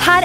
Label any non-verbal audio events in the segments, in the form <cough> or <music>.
her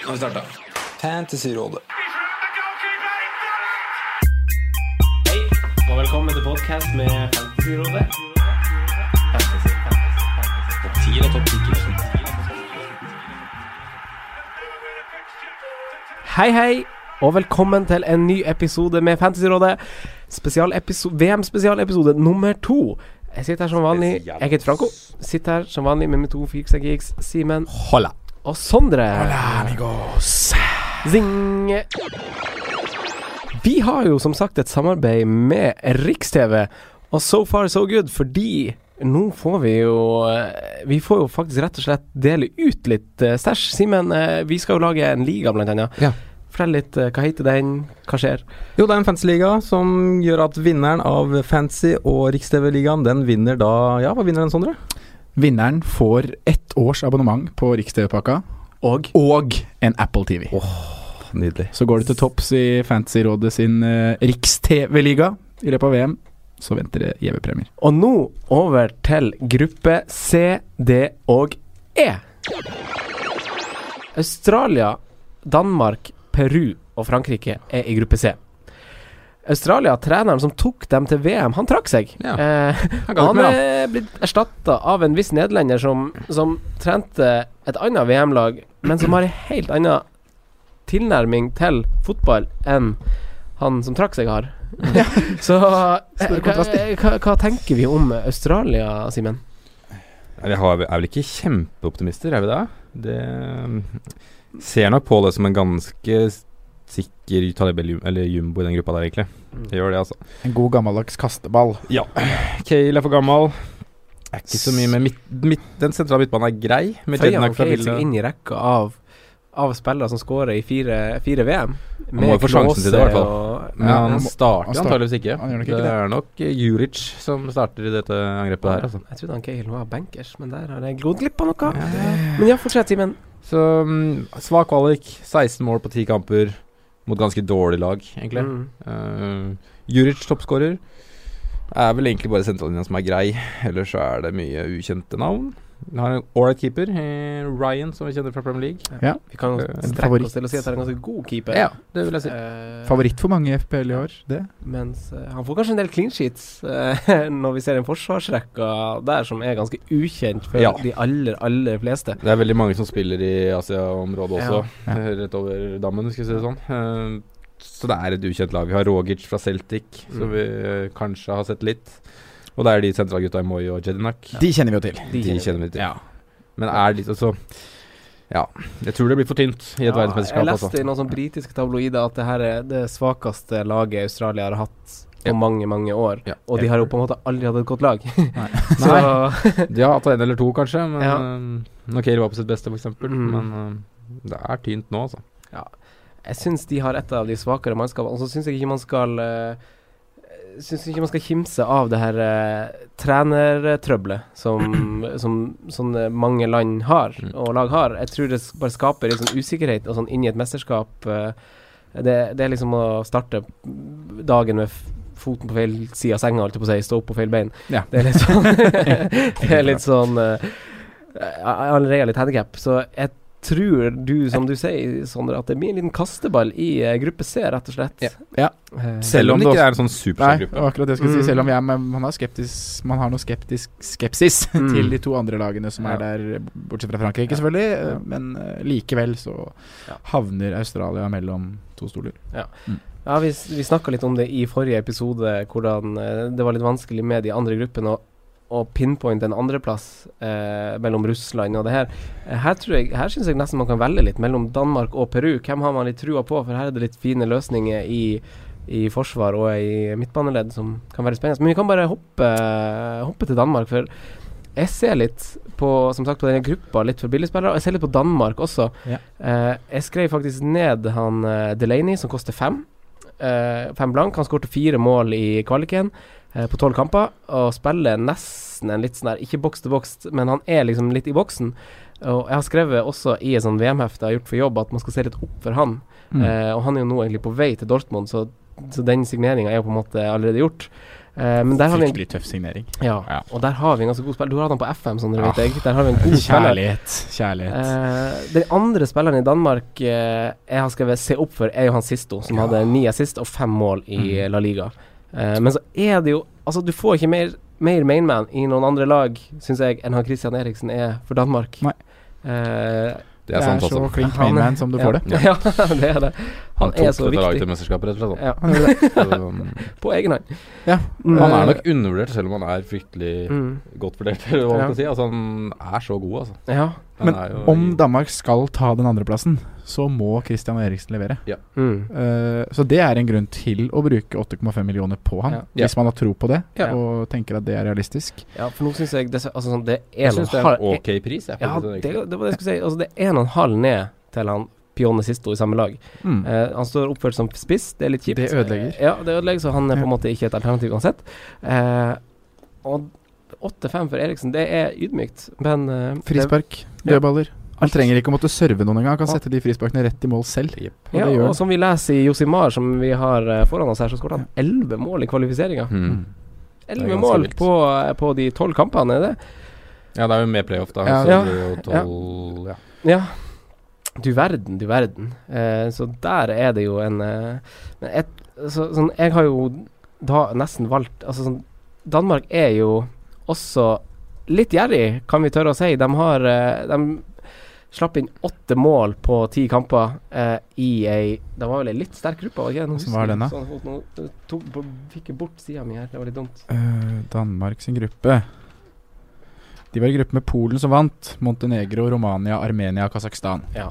Nå har vi starta. Fantasyrådet. Og velkommen til podcast med Fantasyrådet. Topp 10 og topp 10 Hei, hei, og velkommen til en ny episode med Fantasyrådet. Spesialepiso- VM-spesialepisode nummer to. Jeg sitter her som vanlig. Jeg heter Franco. Sitter her som vanlig med mine to fiksa geeks, Simen Hola. og Sondre. Zing! Vi har jo som sagt et samarbeid med Riks-TV, og so far so good, fordi nå får vi jo eh, Vi får jo faktisk rett og slett dele ut litt eh, stæsj. Simen, eh, vi skal jo lage en liga, blant annet. Ja. Fortell litt, eh, hva heter den, hva skjer? Jo, det er en fantasy-liga som gjør at vinneren av Fantasy og Rikstv-ligaen, den vinner da Ja, hva vinner den, Sondre? Vinneren får ett års abonnement på Rikstv-pakka Og og en Apple TV. Nydelig. Så går det til topps i Fantasyrådet sin eh, Riks-TV-liga i løpet av VM. Så venter det gjeve premier. Og nå over til gruppe C, D og E. Australia, Danmark, Peru og Frankrike er i gruppe C. Australia, treneren som tok dem til VM, han trakk seg. Ja. Eh, Han og han er blitt erstatta av en viss nederlender som, som trente et annet VM-lag, men som har en helt annen tilnærming til fotball enn han som trakk seg, har. <laughs> Så eh, Store hva, kontraster. hva, hva tenker vi om Australia, Simen? Vi har, er vel ikke kjempeoptimister, er vi det? Det um, ser nok på det som en ganske s- sikker Talib eller Jum- eller Jumbo i den gruppa der, egentlig. Det gjør det, altså. En god gammeldags kasteball. Kale er for gammel. Er ikke så mye med midt, midt, Den sentrale midtbanen er grei. Med Føyer han Jednak fra Kale seg Ville. inn i rekka av, av spillere som skårer i fire, fire VM? må jo få sjansen til det, i hvert fall. og- Men Ja, han han må- han starter start- antageligvis ikke. han gjør nok det, ikke det. er nok eh, Juric som starter i dette angrepet her, altså. Jeg trodde han Kale var bankers, men der har jeg gått glipp av noe. Men ja, fortsett, Simen. Så mm, svak kvalik. 16 mål på 10 kamper mot ganske dårlig lag, egentlig. Mm. Eh, Juric toppskårer. Er vel egentlig bare sentrallinja som er grei, ellers så er det mye ukjente navn. Vi har en ålreit keeper, eh, Ryan, som vi kjenner fra Premier League. Vi kan Eh, en strekke favoritt. oss til å si at det er en ganske god keeper. Ja, det vil jeg si. Eh, Favoritt for mange i FPL i år, det. Mens eh, han får kanskje en del clean sheets eh, <laughs> når vi ser en forsvarsrekka der som er ganske ukjent for Ja. de aller, aller fleste. Det er veldig mange som spiller i Asia-området også, Ja. eh, rett over dammen, skal vi si det sånn. Eh, så det er et ukjent lag. Vi har Rogic fra Celtic, som Mm. vi eh, kanskje har sett litt. Og det er de sentralgutta i Moi og Jedinak. De kjenner vi jo til. De kjenner vi til. Men er litt altså Ja. Jeg tror det blir for tynt i et verdensmesterskap, Jeg altså. leste i noen sånne britiske tabloider at det her er det svakeste laget Australia har hatt på Ja. mange, mange år. Ja. Og de har jo på en måte aldri hatt et godt lag. <laughs> Så Nei. De har hatt en eller to, kanskje. Men Ja. eh, Når Kale var på sitt beste, f.eks. Mm. Men eh, det er tynt nå, altså. jeg syns de har et av de svakere mannskapene. Og så syns jeg ikke man skal eh, Syns ikke man skal kimse av det her eh, trenertrøbbelet som, som sånne mange land har, Mm. og lag har. Jeg tror det s- bare skaper litt sånn usikkerhet og sånn inn i et mesterskap. eh, det, det er liksom å starte dagen med f- foten på feil side av senga, holdt jeg på å si. Stå opp på feil bein. Ja. Det er litt sånn Det er litt sånn eh, jeg har Allerede litt handicap. Så jeg tror du, som du sier, Sondre, at det blir en liten kasteball i eh, gruppe C, rett og slett. Ja. Ja. Eh, Selv om det det ikke er en sånn Nei, superstark det gruppe. var akkurat det jeg skulle Mm. si. Selv om jeg, men man, har skeptisk, man har noe skeptisk skepsis <laughs> Mm. til de to andre lagene som Ja. er der, bortsett fra Frankrike, selvfølgelig. eh, Men eh, likevel så Ja. havner Australia mellom to stoler. Ja, vi, s- vi snakka litt om det i forrige episode, hvordan eh, det var litt vanskelig med de andre gruppene å, å pinpointe en andreplass eh, mellom Russland og det her. Eh, Her, tror jeg- her syns jeg nesten man kan velge litt mellom Danmark og Peru. Hvem har man litt trua på? For her er det litt fine løsninger i, i forsvar og i midtbaneledd som kan være spennende. Men vi kan bare hoppe, hoppe til Danmark, for jeg ser litt på som sagt, på denne gruppa, litt for billigspillere, og jeg ser litt på Danmark også. Ja. Eh, jeg skrev faktisk ned han eh, Delaney, som koster fem. Eh, fem blank. Han skårte fire mål i kvaliken eh, på tolv kamper, og spiller nesten en litt sånn der Ikke boks til boks, men han er liksom litt i boksen. Og jeg har skrevet også i et sånt VM-hefte jeg har gjort for jobb, at man skal se litt opp for han. Mm. Eh, og han er jo nå egentlig på vei til Dortmund, så, så den signeringa er jo på en måte allerede gjort. Eh, men der har vi en Fryktelig tøff signering. ja, Ja. og der har vi en ganske god spiller. Du har hatt han på FM, som dere Ah, vet. Jeg. Der har vi en god spiller. <laughs> Kjærlighet. Kjærlighet. Eh, den andre spilleren i Danmark eh, jeg har skrevet se opp for, er jo han Sisto, som hadde ni assist og fem mål i Mhm. eh, La Liga. Eh, men så er det jo Altså, du får ikke mer, mer mainman i noen andre lag, syns jeg, enn han Christian Eriksen er for Danmark. Nei. Eh, Det er sant, så altså. klink han- mainman sånn som du ja, får <laughs> det. Ja, det er det. Han, Han tok er så dette laget viktig. til mesterskapet, rett og slett. Ja, da. Så, på egen hånd. Ja, um, Mm. Han er nok undervurdert, selv om han er fryktelig mm, godt vurdert, eller hva man Ja. skal si. Altså, han er så god, altså. Ja. Han Men er jo Om i- Danmark skal ta den andreplassen, så må Christian Eriksen levere. Mm. Eh, så det er en grunn til å bruke 8,5 millioner på han, Ja. hvis man har tro på det Ja. og tenker at det er realistisk. Ja, for nå syns jeg det, altså, sånn, det er Jeg en syns det er halv- en ok pris. Jeg, Ja, for å si det, det egentlig. det var det jeg skulle si. Altså, det er en og en halv ned til han Pione Sisto i samme lag. Mm. Eh, han står oppført som spiss, det er litt kjipt. Det ødelegger. Eh, ja, det ødelegger, så han er på en Ja. måte ikke et alternativ uansett. Eh, og 8-5 for Eriksen, det er ydmykt, men eh, det- Frispark, Ja. dødballer. Han trenger ikke å måtte serve noen engang. Han kan Ja. sette de frisparkene rett i mål selv. Og Ja, det gjør og han. som vi leser i Josimar, som vi har eh, foran oss her, så skåret han elleve mål i kvalifiseringa. Mm. er Elleve ganske mål vilt. på, eh, på de tolv kampene, er det? ja, det er jo med playoff, da. Ja. Så Ja. det blir jo tolv ja. Ja. Du verden, du verden. Eh, så der er det jo en eh, men et, så, sånn, Jeg har jo da nesten valgt Altså sånn Danmark er jo også litt gjerrig, kan vi tørre å si. De har eh, De slapp inn åtte mål på ti kamper eh, i ei Det var vel ei litt sterk gruppe? var det ikke? Nå husker var jeg den da? Sånn, fot- nå eh, tok, på- fikk jeg bort sida mi her, det var litt dumt. Eh, Danmark sin gruppe De var i gruppe med Polen som vant. Montenegro, Romania, Armenia og Kasakhstan. Ja,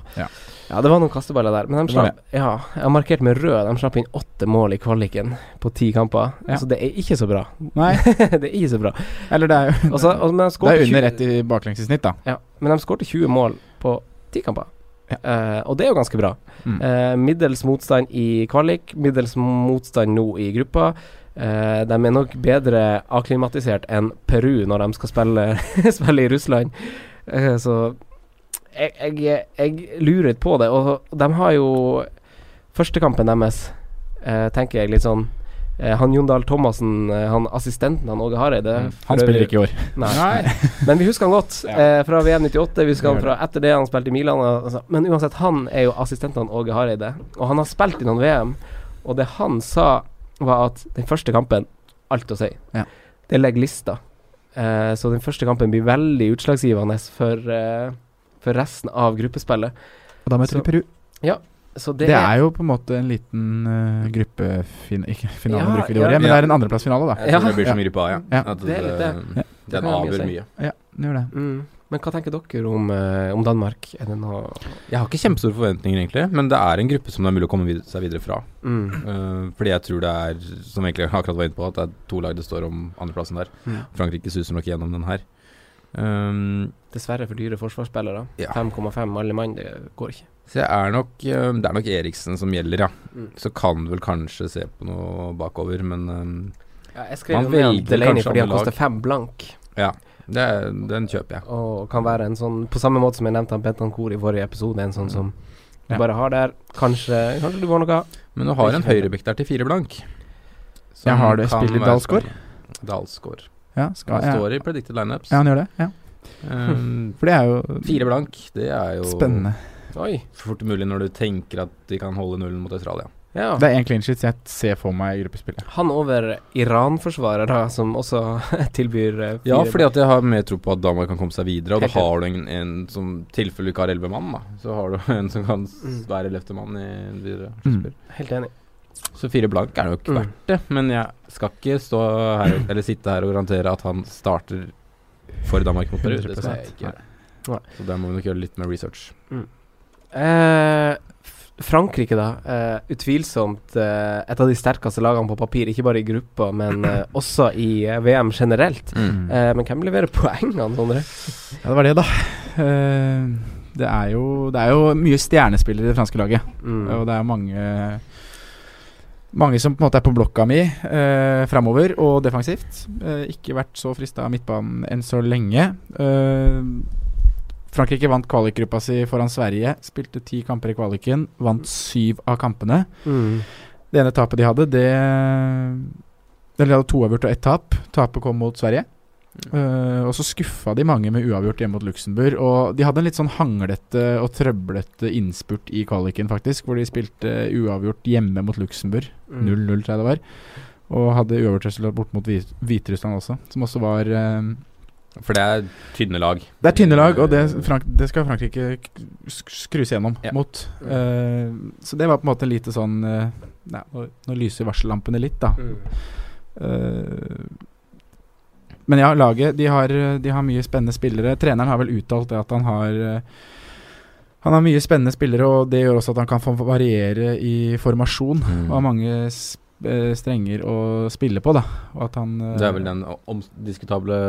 det var noen kasteballer der, men de Det var slapp Ja, jeg har markert med rød. De slapp inn åtte mål i kvaliken på ti kamper, Ja. så det er ikke så bra. <laughs> Nei, det er ikke så bra. eller det er jo Og så- og- men de Det skårte er under 20 ett i baklengs i snitt, da. Ja, men de skårte 20 mål på ti kamper. Eh, og det er jo ganske bra. Mm. Eh, middels motstand i kvalik, middels motstand nå i gruppa. Eh, de er nok bedre akklimatisert enn Peru når de skal spille, <laughs> spille i Russland. Eh, så jeg, jeg, jeg lurer litt på det. Og de har jo førstekampen deres, eh, tenker jeg litt sånn eh, Han Jon Dahl Thomassen, eh, han assistenten han Åge Hareide Mm. for Mm. Han spiller øvrig- ikke i år. Nei. <laughs> Men vi husker han godt eh, fra VM 98. Vi husker han Det gjør fra etter det han spilte i Milan. og- Altså. Men uansett, han er jo assistenten han Åge Hareide, og han har spilt i noen VM. Og det han sa, var at den første kampen Alt å si. Ja. Det legger lista. Eh, så den første kampen blir veldig utslagsgivende for, eh, for resten av gruppespillet. Og da møter Så- de Peru. Så det, Det er jo på en måte en liten eh, gruppefin... Ikke finale, Ja, bruker de ja. ordet, men det Ja. er en andreplassfinale, da. Jeg tror Ja. det blir som gruppe A, ja. Ja. At Det er litt det. det- Det kan Den jeg avgjør si. mye. Ja, det gjør det. mm. Men hva tenker dere om, eh, om Danmark? Er det noe Jeg har ikke kjempestore forventninger, egentlig, men det er en gruppe som det er mulig å komme vid seg videre fra. mm. Eh, fordi jeg tror det er, som egentlig akkurat var inne på, at det er to lag det står om andreplassen der. Ja. Frankrike suser nok gjennom den her. Um, Dessverre for dyre forsvarsspillere. Ja. 5,5 alle mann, det går ikke. så jeg er nok, eh, det er nok Eriksen som gjelder, ja. Mm. Så kan du vel kanskje se på noe bakover, men um, Ja, jeg skrev Man jo ned velger Delaney kanskje fordi han andre lag. koster fem blank, det, er- den kjøper jeg. og kan være en sånn På samme måte som jeg nevnte han Bentancour i forrige episode, en sånn som du Ja. bare har der. Kanskje, kanskje du får noe. Men du har en høyrebekk der til fire blank. Som Jeg har det. kan Spiller være Dalsgaard? spennende. Dalsgaard. Ja, Han skal jeg står i predicted lineups. Ja, han gjør det. Ja. Um, For det er jo fire blank, det er jo spennende. Oi. fort mulig når du tenker at de kan holde nullen mot Australia. Ja. Det er én clean sheet jeg ser for meg i gruppespillet. Han over Iran-forsvarer, da, som også <laughs> tilbyr eh, fire Ja, fordi at jeg har mer tro på at Danmark kan komme seg videre. Og da Helt enig. har du en, en som tilfelle du <laughs> ikke har elleve mann, da. Så har du en som kan s- Mm. være løftemann i videre. Mm. Helt enig. Så fire blank er det jo ikke verdt det. Men jeg skal ikke stå her eller sitte her og garantere at han starter for Danmark mot Peru. Det skal jeg 100%. ikke. Så der må vi nok gjøre litt mer research. Eh, F- Frankrike, da. Eh, utvilsomt eh, et av de sterkeste lagene på papir, ikke bare i gruppa, men <clears throat> eh, også i eh, VM generelt. Mm. Eh, men hvem leverer poengene, Sondre? Ja, det var det, da. Eh, det, er jo, det er jo mye stjernespillere i det franske laget. Mm. Og det er mange Mange som på en måte er på blokka mi eh, framover og defensivt. Eh, ikke vært så frista av midtbanen enn så lenge. Eh, Frankrike vant kvalikgruppa si foran Sverige. Spilte ti kamper i kvaliken, vant syv av kampene. Mm. Det ene tapet de hadde, det Eller de hadde to avgjort og ett tap. Tapet kom mot Sverige. Eh, og så skuffa de mange med uavgjort hjemme mot Luxembourg. Og de hadde en litt sånn hanglete og trøblete innspurt i kvaliken, faktisk, hvor de spilte uavgjort hjemme mot Luxembourg. Mm. 0-0, tror jeg det var. Og hadde uavgjort resultat bort mot Hvit- Hviterussland også, som også var eh, For det er tynne lag. det er tynne lag, og det, Frank det skal Frankrike k- sk- skrus gjennom Ja. mot. Eh, så det var på en måte lite sånn eh, nei, Nå nå lyser varsellampene litt, da. Mm. Eh, men ja, laget de har, de har mye spennende spillere. Treneren har vel uttalt det at han har eh, han har mye spennende spillere, og det gjør også at han kan få variere i formasjon. Og har mange sp eh, strenger å spille på, da. Og at han eh, Det er vel den o- omdiskutable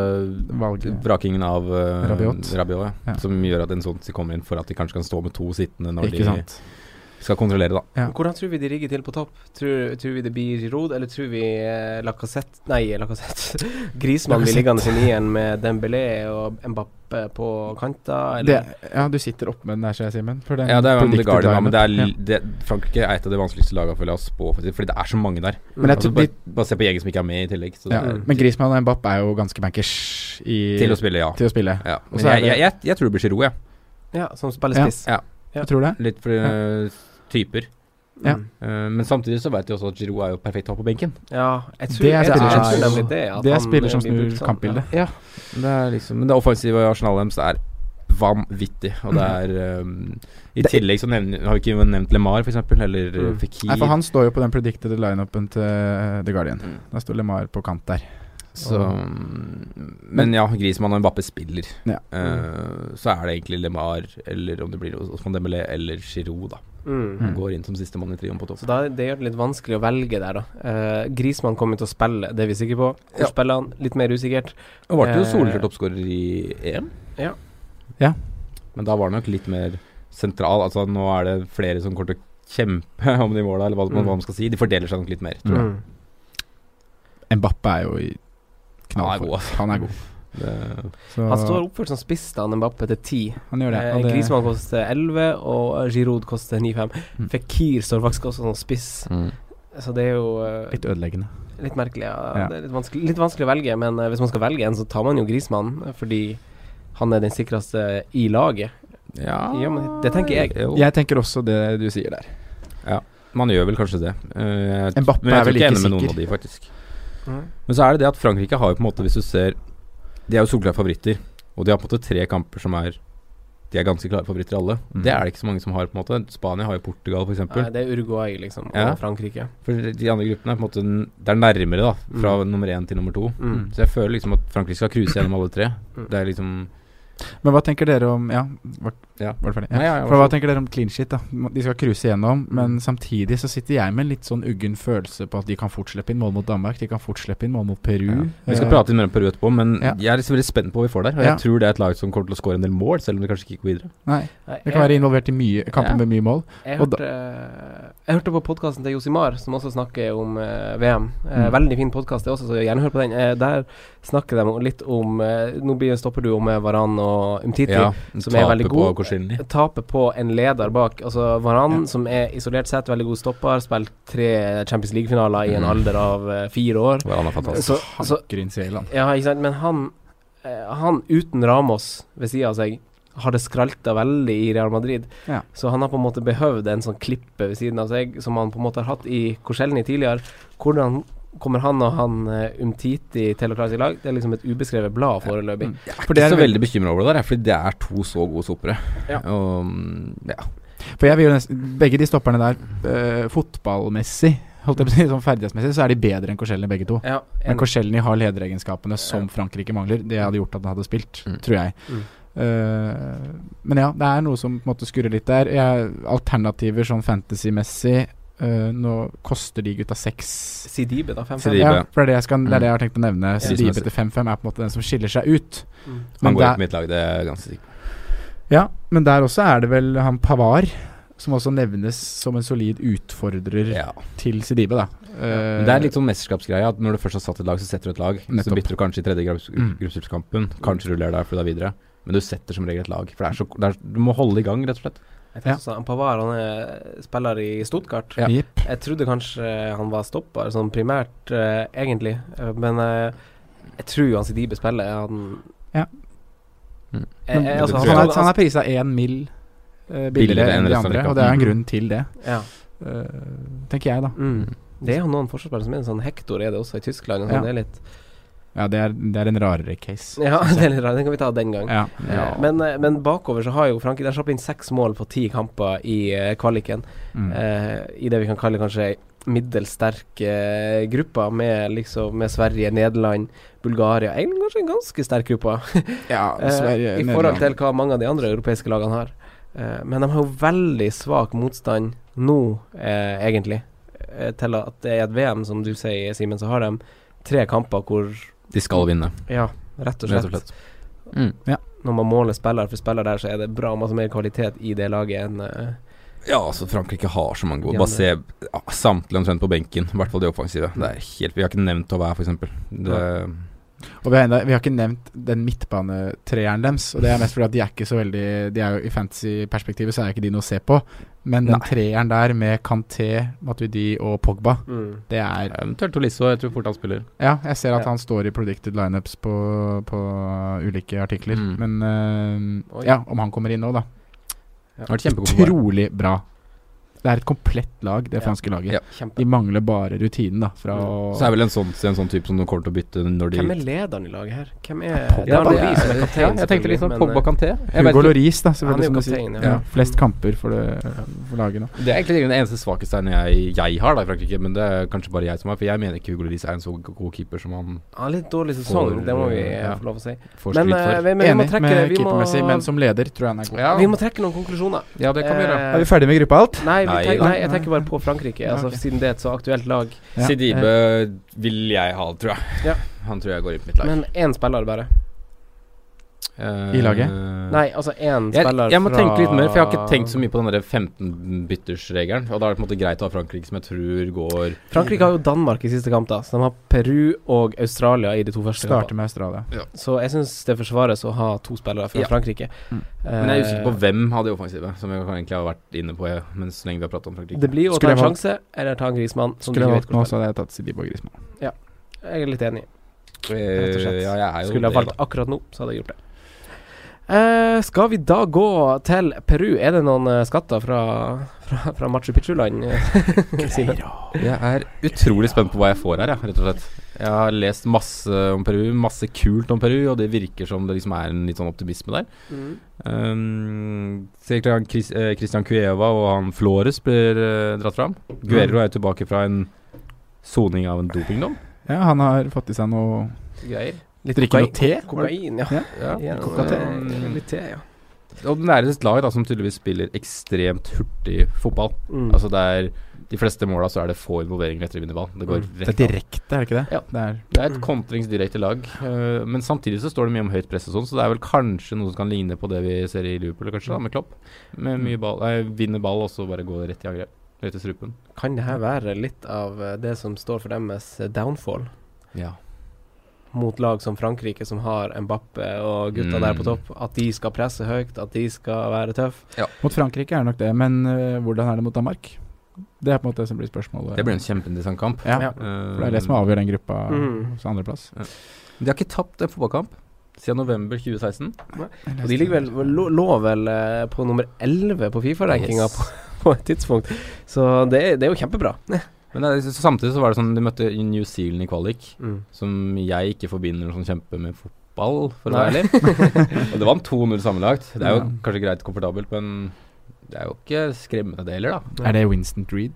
Valget. vrakingen av eh, Rabiot. Rabiot, ja. Ja. Som gjør at en sånn kommer inn for at de kanskje kan stå med to sittende når Ikke sant. de skal kontrollere, da. Ja. Hvordan tror vi de rigger til på topp? Tror, tror vi det blir Giroud, eller tror vi eh, Lacassette Nei, Lacassette. <laughs> Grismann blir Lacazette. liggende i nieren med Dembélé og Mbappé på kanta, eller? Det, ja, du sitter oppe med den der, ser jeg, Simen. for den Ja, det er jo The predicted Guardian, da, men det er, lineup. li- det, Frankrike er et av de vanskeligste lagene for å la oss spå, faktisk, fordi det er så mange der. Men jeg Altså, tror bare, de- bare se på Jegen som ikke er med i tillegg. Så ja. det ja. er, Men Griezmann og Mbappé er jo ganske bankers i, til å spille, ja. til å spille. ja. Og Men så er jeg, det- jeg, jeg, jeg tror det blir Giroud, jeg. Ja, som spiller Ja. spiss. Ja. Du tror det? Litt for eh, typer. Ja. Eh, men samtidig så vet vi også at Giroud er jo perfekt å ha på benken. Ja, jeg tror Det er jeg spiller tror som- nemlig det. at det er han, spiller eh, som blir brukt snur sånn. kampbildet. Ja. Det er liksom, men det offensive i arsenalet deres er vanvittig. Og det er um, I tillegg så nevner, har vi ikke nevnt Lemar, f.eks., eller uh, Mm. Fikir. Nei, for han står jo på den predicted lineupen til eh, The Guardian. Der står LeMar på kant der. så, um, men ja, Griezmann og Mbappé spiller. Ja. Uh, så er det egentlig Lemar, eller om det blir Osman Dembélé eller Giroud, da. Mm. Mm. Går inn som sistemann i trioen på topp. Så da, det gjør det litt vanskelig å velge der, da. Eh, Grismann kommer til å spille, det er vi sikre på. Hvor Ja. spiller han? Litt mer usikkert. Og ble jo Eh, solklart toppskårer i EM. Ja. Ja. Men da var det nok litt mer sentral. Altså nå er det flere som kommer til å kjempe <laughs> om de måla, eller hva, Mm. hva man skal si. De fordeler seg nok litt mer. Tror jeg. Mm. Mbappé er jo i Han er knallform. god, altså. Han er god. Det- Så Han står oppført som spiss da, Mbappé til 10. han gjør det. Eh, og det- Griezmann koster 11, og eh, Giroud koster 9,5. Mm. Fikir står faktisk også som spiss, så det er jo eh, Litt ødeleggende. litt merkelig. Ja. Ja. Det er litt vanskelig, litt vanskelig å velge, men eh, hvis man skal velge en, så tar man jo Grismann, eh, fordi han er den sikreste i laget. Ah. Ja, men det tenker jeg. Jo. Jeg tenker også det du sier der. Man gjør vel kanskje det. Eh, jeg- Mbappé men jeg tror er ikke jeg er vel ikke enig med noen sikker. av de, faktisk. Mm. Men så er det det at Frankrike har jo på en måte, hvis du ser De er jo solklare favoritter, og de har på en måte tre kamper som er De er ganske klare favoritter alle. Mm. Det er det ikke så mange som har, på en måte. Spania har jo Portugal, f.eks. Nei, det er Uruguay, liksom, og Ja. Frankrike. For de andre gruppene er på en måte n- Det er nærmere, da. Fra nummer én til nummer to. Mm. Så jeg føler liksom at Frankrike skal cruise gjennom alle tre. Mm. Det er liksom Men hva tenker dere om Ja, var, Ja. var det ferdig? Nei, ja, ja, For vær hva så god. tenker dere om clean shit? da? De skal cruise igjennom, men samtidig så sitter jeg med en litt sånn uggen følelse på at de kan fort slippe inn mål mot Danmark, de kan fort slippe inn mål mot Peru. ja. Vi skal Eh, prate litt mer om Peru etterpå, men Ja. jeg er liksom veldig spent på hva vi får der. Og Ja. jeg tror det er et lag som kommer til å skåre en del mål, selv om de kanskje ikke går videre. Eh, Nei, Nei, det kan jeg- være involvert i mye kamper Ja. med mye mål. Jeg Og da- hørte, jeg hørte på podkasten til Josimar, som også snakker om eh, VM. Eh, Mm. Veldig fin podkast, det også, så gjerne hør på den. Eh, der snakker de om- litt om eh, Nå blir stopper du om med Varan og Umtiti. som er veldig god. på Korsinli. Taper på en leder bak. Altså Varan, som er isolert sett veldig god stopper, har spilt tre Champions League-finaler i en Mm. alder av eh, fire år. Ja, han er fantastisk. Så, så Grins i Irland. Ja, ikke sant, men han eh, Han uten Ramos ved sida av seg har det skralta veldig i Real Madrid. Ja. Så han har på en måte behøvd en sånn klippe ved siden av seg, som han på en måte har hatt i Korselny tidligere. Hvordan kommer han og han eh, Umtiti til å klare seg i lag? Det er liksom et ubeskrevet blad Mm. foreløpig. For det er jeg så veldig bekymra over det der, fordi det er to så gode soppere. Ja. Og, mm, ja. For jeg vil jo nesten Begge de stopperne der, eh, fotballmessig, holdt jeg på å si, sånn ferdighetsmessig så er de bedre enn Korselny begge to. Ja, Men enig. Korselny har lederegenskapene som Frankrike mangler. Det hadde gjort at han hadde spilt, tror jeg. Mm. Eh, men ja, det er noe som på en måte skurrer litt der. Jeg, alternativer sånn fantasy-messig eh, Nå koster de gutta seks CDB, da. 5-5. Sidibe. Ja, for det er det, jeg skal, det er det jeg har tenkt å nevne. Ja. Sidibe til 5-5 er på en måte den som skiller seg ut. Mm. Han går det ikke er- på mitt lag, det er jeg ganske sikker på. ja, men der også er det vel han Pavar som også nevnes som en solid utfordrer Ja. til Sidibe, da. Eh, Men det er litt sånn mesterskapsgreie at når du først har satt et lag, så setter du et lag. Nettopp. Så bytter du kanskje i tredje grupps- Mm. gruppespillkampen. Kanskje ruller der for du er videre. Men du setter som regel et lag. For det er så, det er, du må holde i gang, rett og slett. Jeg Ja. tenkte sånn, Pavar han er spiller i Stuttgart. ja. Jipp. Jeg trodde kanskje han var stopper, sånn primært, eh, egentlig. Eh, Men eh, jeg tror jo han Sidibe spiller. Han Ja. Mm. Jeg, jeg, altså, han, tror han, jeg. er, han er prisa én mill. eh, billigere Billigere enn enn de resten av andre, ligaen. og det er en Mm. grunn til det, ja. eh, tenker jeg, da. mm. Det er jo noen forsvarsspillere som er en sånn Hector er det også i Tyskland. og Ja. Sånn, det er litt, Ja, det er, det er en rarere case. ja, <laughs> det er litt rart. Den kan vi ta den gang. Ja. Eh, Men, eh, men bakover så har jo Frankrike De har slapp inn seks mål på ti kamper i eh, kvaliken. Mm. eh, I det vi kan kalle kanskje ei middels sterk eh, gruppe, med, liksom, med Sverige, Nederland, Bulgaria Egentlig kanskje en ganske sterk gruppe, ja, eh, Sverige, i Nederland. forhold til hva mange av de andre europeiske lagene har. Eh, men de har jo veldig svak motstand nå, eh, egentlig, eh, til at det er et VM, som du sier, Simen, så har de tre kamper hvor De skal vinne, Ja, rett og slett. rett og slett. Mm. når man måler spiller for spiller der, så er det bra masse mer kvalitet i det laget enn eh, Ja, altså Frankrike har så mange gode. Ja, Bare det- se ja, samtlige omtrent på benken. I hvert fall de offensive. Det er helt, vi har ikke nevnt Tauvin, f.eks. Og vi har, enda, vi har ikke nevnt den midtbanetreeren deres. Og det er mest fordi at de er ikke så veldig De er jo I fantasy-perspektivet så er ikke de noe å se på. Men den treeren der med Kanté, Matuidi og Pogba, det er Eventuelt Tolisso. Jeg tror fort han spiller. Ja, jeg ser at Ja. han står i predicted lineups på, på ulike artikler. Mm. Men eh, Oi. ja, om han kommer inn nå, da. Han har vært kjempegod på Bayern. Utrolig bra. Det er et komplett lag, det Ja. franske laget. Ja. Kjempe. De mangler bare rutinen, da. Fra å Så er vel en sånn, en sånn type som du kommer til å bytte når de Hvem er lederen i laget her? Hvem er Pogba. Det er Pogba. Louis som er kaptein, jeg tenkte litt selvfølgelig, sånn men, Pogba eh, Kanté. Jeg vet Mm. Hugo ikke- Loris, da. Han er Selvfølgelig, jo som du sier. kaptein, ja. Ja, flest kamper for, det, for laget nå. Det er egentlig den eneste svakhetstegnet jeg, jeg har da i Frankrike, men det er kanskje bare jeg som har, for jeg mener ikke Hugo Lloris er en så god keeper som han Han har eh, litt dårlig sesong, For, det må vi eh, ja. få lov å si. får Men, eh, skryt for. vi, men vi må Enig trekke med vi må, keepermessig, men som leder tror jeg han er god. Ja, vi må trekke noen konklusjoner. ja, det kan vi gjøre. Eh, Er vi ferdige med gruppa alt? Nei, vi Nei, tenker, da. nei, jeg tenker bare på Frankrike, altså, ok. siden det er et så aktuelt lag. ja. Sidibe vil jeg ha, tror jeg. Ja. Han tror jeg går inn på mitt lag. Men én spiller bare. Eh, I laget? Nei, altså én Jeg, spiller jeg må fra tenke litt mer, for jeg har ikke tenkt så mye på den der 15-byttersregelen. Og da er det på en måte greit å ha Frankrike, som jeg tror går Frankrike har jo Danmark i siste kamp, da. Så de har Peru og Australia i de to første kampene. Starter med Australia. Så jeg syns det forsvares å ha to spillere fra Ja. Frankrike. Eh, Mm. Men jeg er usikker på hvem av de offensive, som jeg egentlig har vært inne på eh, mens så lenge vi har pratet om Frankrike. Det blir jo å ta en Skulle jeg valgt- sjanse, eller ta en grismann. Som du Skulle jeg ikke valgt vet nå, hvor så spiller. hadde jeg tatt Sidibe og Griezmann. Jeg er litt enig. rett og slett. Ja, jeg er jo Skulle jeg det, valgt akkurat nå, så hadde jeg gjort det. Eh, skal vi da gå til Peru? Er det noen eh, skatter fra, fra, fra Machu Picchu-land? eh, <laughs> Simen? Jeg er utrolig spent på hva jeg får her, jeg, rett og slett. Jeg har lest masse om Peru, masse kult om Peru, og det virker som det liksom er en litt sånn optimisme der. Mm. Um, Sikkert han Chris, eh, Christian Cueva og han Flores blir eh, dratt fram. Guerrero er jo tilbake fra en soning av en dopingdom. Ja, han har fått i seg noe Greier. Drikke noe te? Kokain, ja. Ja. Ja, eh, Litt te, ja. Og den er et lag da, som tydeligvis spiller ekstremt hurtig fotball. Mm. Altså det er de fleste måla så er det få involveringer etter å vinne ball. Det går Mm. rett Det er direkte, er det ikke det? Ja. Det er Det er et kontringsdirekte lag, eh, men samtidig så står det mye om høyt press og sånn, så det er vel kanskje noe som kan ligne på det vi ser i Liverpool, kanskje, da, med Klopp. Med mye ball, nei, vinne ball og så bare gå rett i angrep. Rett i strupen. Kan det her være litt av eh, det som står for deres eh, downfall? Ja. mot lag som Frankrike, som har Mbappe og gutta Mm. der på topp, at de skal presse høyt, at de skal være tøff Mot Frankrike er det nok det, men øh, hvordan er det mot Danmark? Det er på en måte det som blir spørsmålet. Det blir en kjempeinteressant kamp. ja. Ja. For det er det som avgjør den gruppa Mm. hos andreplass. De har ikke tapt en fotballkamp siden november 2016. Og de ligger vel, lå, lå vel eh, på nummer 11 på Fifa-rankinga på, <laughs> på et tidspunkt, så det, er- det er jo kjempebra. Men det, er- så samtidig så var det sånn de møtte New Zealand i kvalik, Mm. som jeg ikke forbinder noe sånn kjempe med fotball, for å Nei. være <laughs> ærlig. og det vant 2-0 sammenlagt. Det er jo Ja. kanskje greit komfortabelt, men det er jo ikke skremmende det heller, da. Er det Winston Dreed?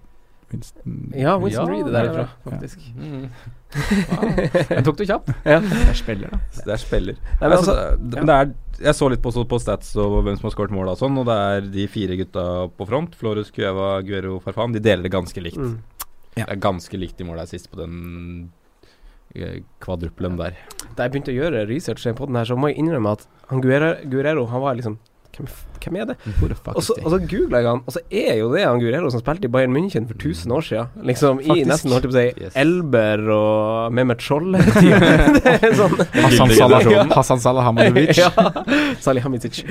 Winston Ja, Winston Reed er det derifra, ja. <laughs> faktisk. Mm. <laughs> Wow. Den tok du kjapt. Ja. Det er spiller, da. Så Det er spiller. men altså, altså, det, ja. det er, jeg så litt på, på stats og hvem som har skåret mål og sånn, og det er de fire gutta på front, Flores, Cueva, Guero, Farfan, de deler det ganske likt. Mm. Det er ganske likt de måla sist på den eh, kvadruppelen <laughs> der. Da jeg begynte å gjøre research på den her, så må jeg innrømme at han Guerrero, Guerrero han var liksom hvem, f- hvem er det? Hvor the fuck Mm. Og is så, they? og så googla jeg han, og så er jo det han Guerrero som spilte i Bayern München for 1000 år siden. Liksom i Faktisk. nesten holdt jeg på å si Yes. Elber og Mehmet Scholle. <laughs> det er sånn Hassan Gyldig Salah, generasjon. Hassan <laughs> Salahamovic. ja. Salihamidzic.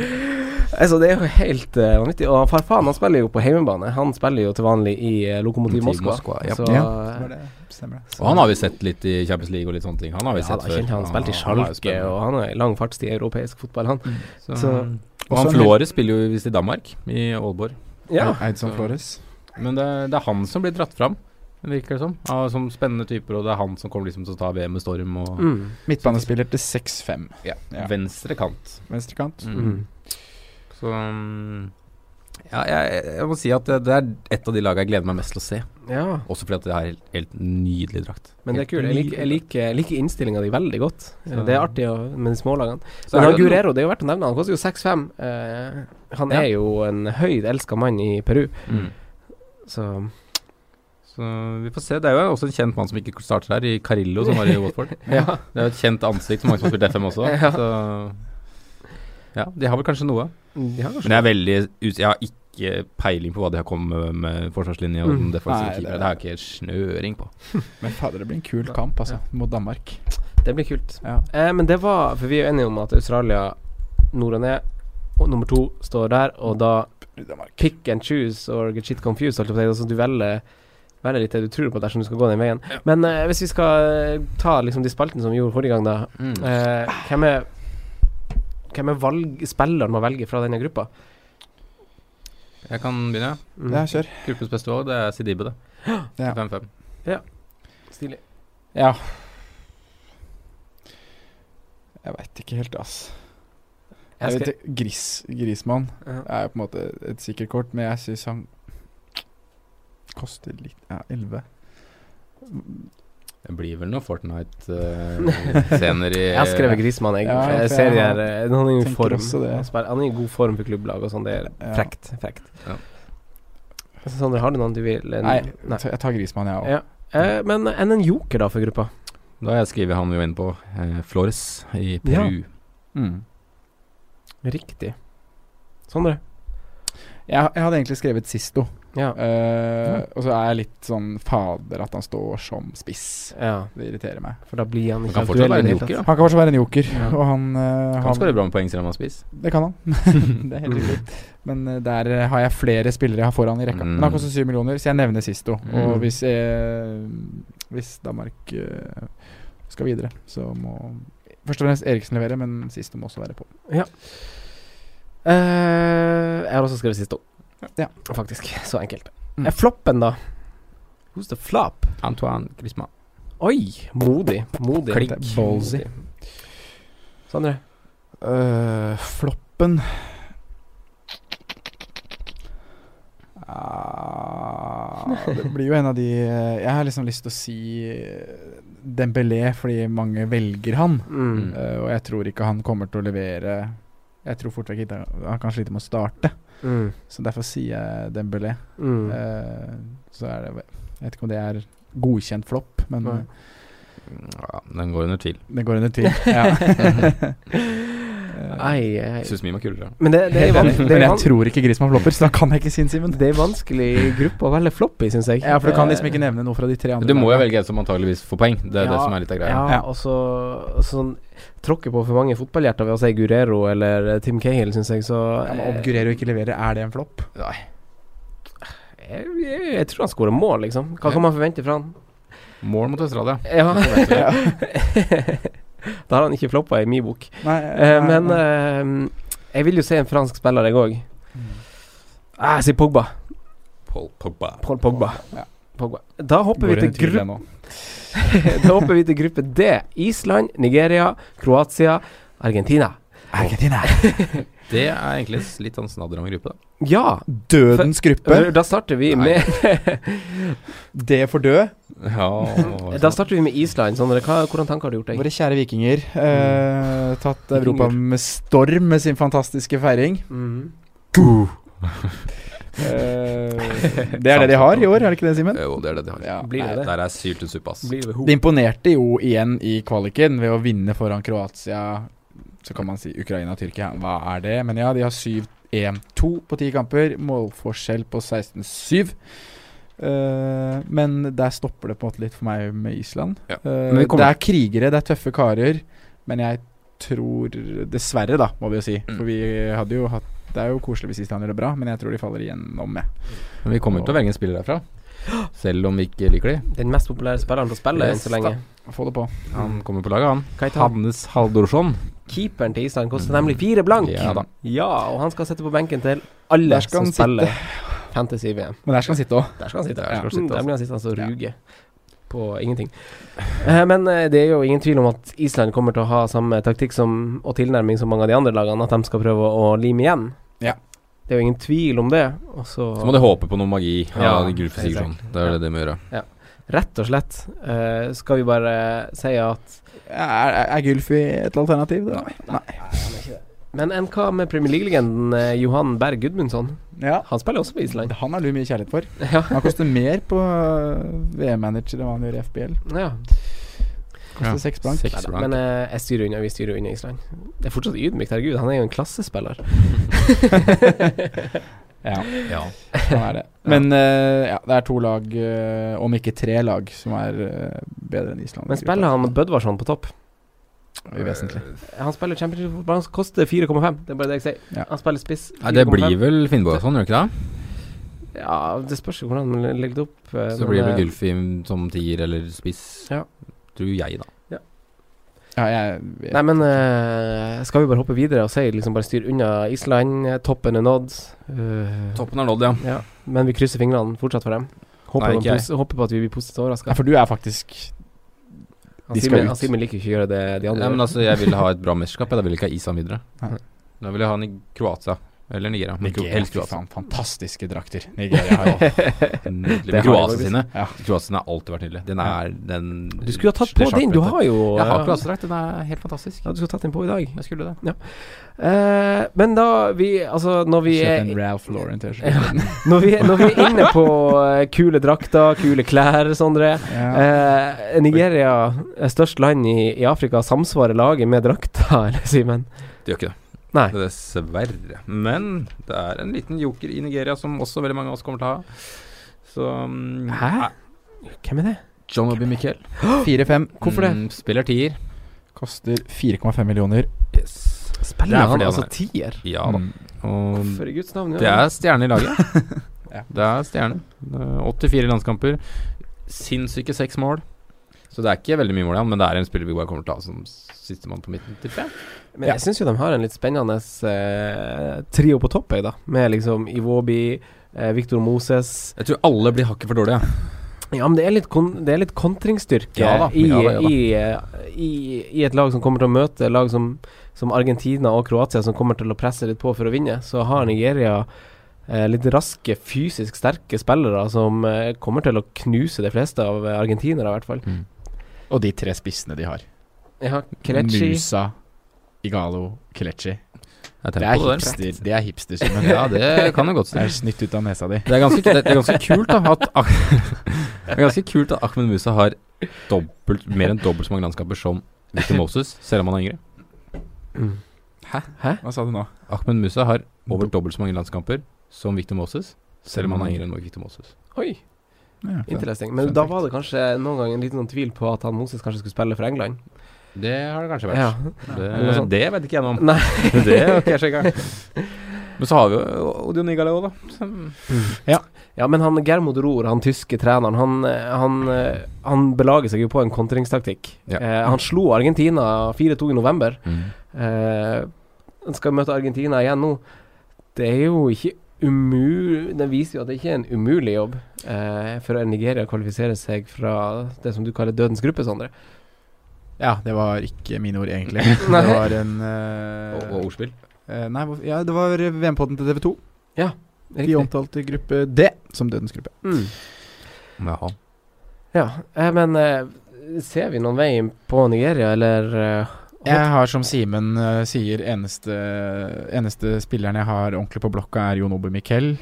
Altså, det er jo helt eh, vanvittig. Og Farfan han spiller jo på hjemmebane. Han spiller jo til vanlig i eh, Lokomotiv Lokomotiv Moskva. Moskva, ja. Så, Ja. eh, Var det- Stemmer det. Og han har vi sett litt i Champions League og litt sånne ting. Han har vi ja, sett da, før. kjente jeg han spilte i han er jo Schalke, og spennende. han har en lang fartstid i europeisk fotball, han. Så, så- og Også han en hel- Flores spiller jo visst i Danmark, i Aalborg. Ja. Eidsson Flores. Men det, er- det er han som blir dratt fram, virker det som. Av, som spennende typer, og det er han som kommer liksom til å ta VM med storm. Og Mm. Midtbanespiller til 6-5. ja, Ja. venstre kant. Venstrekant. Mm. Så mm, ja, jeg, jeg må si at det, det er et av de lagene jeg gleder meg mest til å se. Ja. Også fordi at det er helt, helt nydelig drakt. Men det er Helt kult. Jeg liker, jeg nydelig drakt. liker, jeg liker innstillinga di veldig godt. Så- Det er artig å, med de smålagene. Så Men han er det- Guerrero, det er jo verdt å nevne. Han koster jo 6-5. Eh, han Ja. er jo en høyt elska mann i Peru, Mm. så Så vi får se. Det er jo også en kjent mann som ikke starter her, i Carillo, som var i Watford. Ja. Det er jo et kjent ansikt for mange som har spilt FM også. Ja. Så ja, de har vel kanskje noe. ja, kanskje. Men jeg er veldig ut, Jeg har ikke peiling på hva de har kommet med med forsvarslinje og Mm. den defensive Nei, det- keeper. Det har jeg ikke snøring på. Men fader, det blir en kul kamp, altså, mot Danmark. Det blir kult. Ja. Eh, men det var For vi er jo enige om at Australia nord og ned, og nummer to står der, og da pick and choose or get shit confused, holdt jeg på å si. Altså, du velger velger litt det du tror på dersom du skal gå den veien. Men eh, hvis vi skal eh, ta liksom de spaltene som vi gjorde forrige gang, da. Eh, hvem er Hvem er valg, spilleren man velger fra denne gruppa? Jeg kan begynne. Mm. Ja, kjør. Gruppens beste valg, det er Sidibe, det. Ja. 5-5. Stilig. Ja. Jeg veit ikke helt, ass. Jeg Jeg skal, vet, ikke, gris, Grismann Ja. er jo på en måte et sikkert kort, men jeg syns han koster litt Ja, 11. Det blir vel noen <laughs> Fortnite-scener i jeg har skrevet Grismann, jeg. Ja, for jeg for ser jeg de her eh, Han er jo i tenker form. også det. Han spiller- Han er i god form for klubblag og sånn. Det er Ja. frekt. frekt. Ja. Så, Sondre, har du noen du vil eh, Nei, nei. ta- jeg tar Grismann, jeg òg. Ja. Eh, men enn en joker, da, for gruppa? Da har jeg skrevet han vi var inne på, eh, Flores i Peru. Ja. Mm. Riktig. Sondre? Jeg, jeg hadde egentlig skrevet Sisto, Ja. Eh, Mm. og så er jeg litt sånn fader at han står som spiss. ja. Det irriterer meg. For da blir han Han ikke kan fortsatt aktuell i være en det hele joker, da. Han kan fortsatt være en joker, Ja. og han, eh, Han han skårer bra Mm. med poeng selv om han spiser. Det kan han. <laughs> det er helt riktig. Men eh, der eh, har jeg flere spillere jeg har foran i rekka. Mm. Men han koster syv millioner, så jeg nevner Sisto. Mm. Og hvis, eh, hvis Danmark eh, skal videre, så må Først og fremst Eriksen levere, men Sisto må også være på. Eh, jeg har også skrevet siste ord. Ja. Faktisk. Så enkelt. Mm. Eh, floppen, da? Who's the flop? Antoine Griezmann. Oi! Modig. Modig. Klikk. Modig. Ballsy. Sondre? Eh, floppen Ah, Det blir jo en av de eh, Jeg har liksom lyst til å si eh, Dembélé, fordi mange velger han. Mm. Eh, og jeg tror ikke han kommer til å levere Jeg tror fort vekk ikke han kan slite med å starte. Mm. Så derfor sier jeg Dembélé. Mm. Eh, så er det vel- Jeg vet ikke om det er godkjent flopp, men Nei. Ja, den går under tvil. det går under <laughs> tvil. Ja. Mm. Ai, ai. Syns mye var kulere. Men det, det, er <laughs> Helt enig. van- det, Men er jeg van- tror ikke Grismann flopper, så da kan jeg ikke si en Simen. det er vanskelig gruppe å velge flopp i, syns jeg. Ja, for du kan liksom ikke nevne noe fra de tre andre. Du må jo velge en som antageligvis får poeng. Det er Ja, det som er litt av greia. Ja, Ja. og så og sånn tråkke på for mange fotballhjerter ved å si Gurero eller eh, Tim Cahill, syns jeg, så Ja, men Om Guerrero ikke leverer, er det en flopp? jeg, jeg, jeg tror han skårer mål, liksom. Hva kan man forvente fra han? Mål mot Australia. Ja. <laughs> da har han ikke floppa i min bok. Nei, Eh, nei, men nei. eh, jeg vil jo se en fransk spiller, jeg òg. Mm. Ah, jeg sier Pogba. Paul Pogba. Paul Pogba. Ja. Pogba. Da hopper vi Går til under tvil gruppe ennå. Eh, Da hopper vi til gruppe D. Island, Nigeria, Kroatia, Argentina. Argentina. Det er egentlig s- litt sånn snadder om en gruppe, da. Ja. eh, Dødens gruppe. Da starter vi Nei. med Det for død. <laughs> Ja, Da starter vi med Island. Sondre. Hva, hvordan tanker har du gjort deg? Våre kjære vikinger. Mm. Eh, tatt Europa med storm med sin fantastiske feiring. <laughs> Mhm. Eh, det er det de har i år, er det ikke det, Simen? Jo, det er det de har. Ja. Blir det det? Der er syltet suppe, ass. Blir det ho? De imponerte jo igjen i kvaliken ved å vinne foran Kroatia. Så kan man si Ukraina og Tyrkia. Hva er det? Men ja, de har 7-1-2 på ti kamper. Målforskjell på 16-7. Eh, men der stopper det på en måte litt for meg med Island. Ja. Eh, Men vi det kommer- er krigere, det er tøffe karer. Men jeg tror Dessverre, da, må vi jo si. Mm. For vi hadde jo hatt Det er jo koselig hvis Island gjør det bra, men jeg tror de faller igjennom, jeg. Men vi kommer til å velge en spiller derfra. Selv om vi ikke liker de. Den mest populære spilleren på spillet enn Yes, så lenge. Få det på. Han kommer på laget, han. Hva heter han? Hannes Haldorsson. Keeperen til Island koster nemlig fire blank. Ja da. Ja, og han skal sitte på benken til Der alle skal som han spiller Fantasy-VM. Men der skal han sitte òg. Der skal han sitte. Der skal han Ja. sitte, Der altså. blir han sittende og Ja. ruge på ingenting. Eh, Men eh, det er jo ingen tvil om at Island kommer til å ha samme taktikk som, og tilnærming som mange av de andre lagene, at de skal prøve å lime igjen. Ja. Det er jo ingen tvil om det. Og Så må de håpe på noe magi Ja, av Gulf Sigurdsson. Det er det de må gjøre. Rett og slett eh, skal vi bare si at Er, er Gylfi et alternativ? Da? Men enn hva med Premier League-legenden eh, Johan Berg Gudmundsson? Ja. Han spiller også på Island. Han har du mye kjærlighet for. <laughs> Ja. Han koster mer på øh, VM-manager enn hva han gjør i FBL. ja. Koster seks blank. Seks blank. Men eh, jeg styrer unna, vi styrer unna Island. Det er fortsatt ydmykt, herregud. Han er jo en klassespiller. Ja, Ja. han <laughs> er det. Men øh, ja, det er to lag, øh, om ikke tre lag, som er øh, bedre enn Island. Men spiller han Bødvarsson på topp? Uvesentlig. Han spiller Champions League fotball, han koster 4,5. Det er bare det jeg sier. Ja. Han spiller spiss. Nei, det 4,5. blir vel Finnbogason, gjør det ikke det? Ja, det spørs jo hvordan man legger det opp. eh, Så men, blir det vel eh, Gulfi som tier eller spiss. Ja. Tror jeg, da. Ja, jeg vet. Nei, men eh, skal vi bare hoppe videre og si liksom bare styr unna Island? eh, Toppen er nådd. Eh, Toppen er nådd, ja. Ja. Men vi krysser fingrene fortsatt for dem. Håper, Nei, de ikke jeg. posi- håper på at vi blir positivt Ja, overraska. for du er faktisk de skal ut. Simen liker ikke å gjøre det de andre ja men gjør. altså, jeg ville ha et bra mesterskap. Jeg da ville ikke ha Island videre. Nei. Da ville jeg ha han i Kroatia. Eller Nigeria. men Kro- Nigeria, Helst fy Kroatia. faen, fantastiske drakter. Nigeria <laughs> har jo Nydelig. har Men de Kroatia faktisk. sine Ja. Kroatia sine har alltid vært nydelige. Den er den Du skulle ha tatt på det din, du sjakkbrettet. har jo Jeg har eh, kroatiadrakt. Den er helt fantastisk. Ja, du skulle tatt den på i dag. Jeg skulle det. Eh, men da vi Altså, når vi kjøpt er en Ralph Lauren til Når vi, når vi er inne på eh, kule drakter, kule klær, Sondre ja. eh, Nigeria, eh, størst land i, i Afrika, samsvarer laget med drakta, <laughs> eller, Simen? De gjør ikke det. Nei. Dessverre. Men det er en liten joker i Nigeria som også veldig mange av oss kommer til å ha. Så mm, Hæ? eh, Hvem er det? John Obi <gasps> Miquel. 4-5 Hvorfor det? Mm, spiller tier. koster 4,5 millioner. Yes. Spiller Det er han fordi han altså er- tier? Ja da. Mm. Og For i guds navn, det ja. er stjerne i laget. Ja. Det er stjerne. Eh, 84 landskamper. Sinnssyke seks mål. Så det er ikke veldig mye mål igjen, men det er en spiller vi bare kommer til å ha som sistemann på midten, tipper jeg. Men jeg syns jo de har en litt spennende eh, trio på topp, jeg, da. Med liksom Iwobi, eh, Victor Moses Jeg tror alle blir hakket for dårlige. Ja, men det er litt, kon det er litt kontringsstyrke Ja da, i, ja da, ja da. I, eh, i, i et lag som kommer til å møte lag som, som Argentina og Kroatia, som kommer til å presse litt på for å vinne. Så har Nigeria eh, litt raske, fysisk sterke spillere som eh, kommer til å knuse de fleste av eh, argentinere, i hvert fall. Mm. Og de tre spissene de har. Ja, Kelechi Musa, Igalo, Kelechi. Jeg Det tenker er på det der. hipster. Det er hipster <laughs> som Ja, det kan jo godt <laughs> Det stemme. er snytt ut av nesa di. Det er ganske, det, det er ganske kult da at Ah- <laughs> Det er ganske kult at Ahmed Musa har dobbelt, mer enn dobbelt så mange landskamper som Victor Moses, selv om han er yngre. Hva sa du nå? Ahmed Musa har over dobbelt så mange landskamper som Victor Moses, selv om han er yngre enn Victor Moses. Oi, Ja, interesting. Men Fun da fact. var det kanskje noen gang en liten tvil på at han Moses kanskje skulle spille for England. Det har det kanskje vært. Ja. Det, det vet ikke jeg <laughs> noe om. Nei. Det har ikke jeg sjekka. Men så har vi jo Odion Igale òg, da. Som Ja, men han Germod Rohr, han tyske treneren, han, eh, han, eh, han belager seg jo på en kontringstaktikk. Ja. Eh, han slo Argentina 4-2 i november. Mm. Eh, han skal møte Argentina igjen nå. Det er jo ikke umulig Det viser jo at det ikke er en umulig jobb eh, for Nigeria å kvalifisere seg fra det som du kaller dødens gruppe, Sondre. det var ikke mine ord, egentlig. Det <laughs> Nei. var en og, eh, og ordspill. Eh, nei, hvor- ja, det var VM-podden til TV2. Ja, De omtalte gruppe D som dødens gruppe. Mm. Jaha. Ja, eh, men eh, ser vi noen vei på Nigeria, eller eh, Jeg har som Simen eh, sier, eneste, eneste spilleren jeg har ordentlig på blokka, er Jon Obe Mikkel.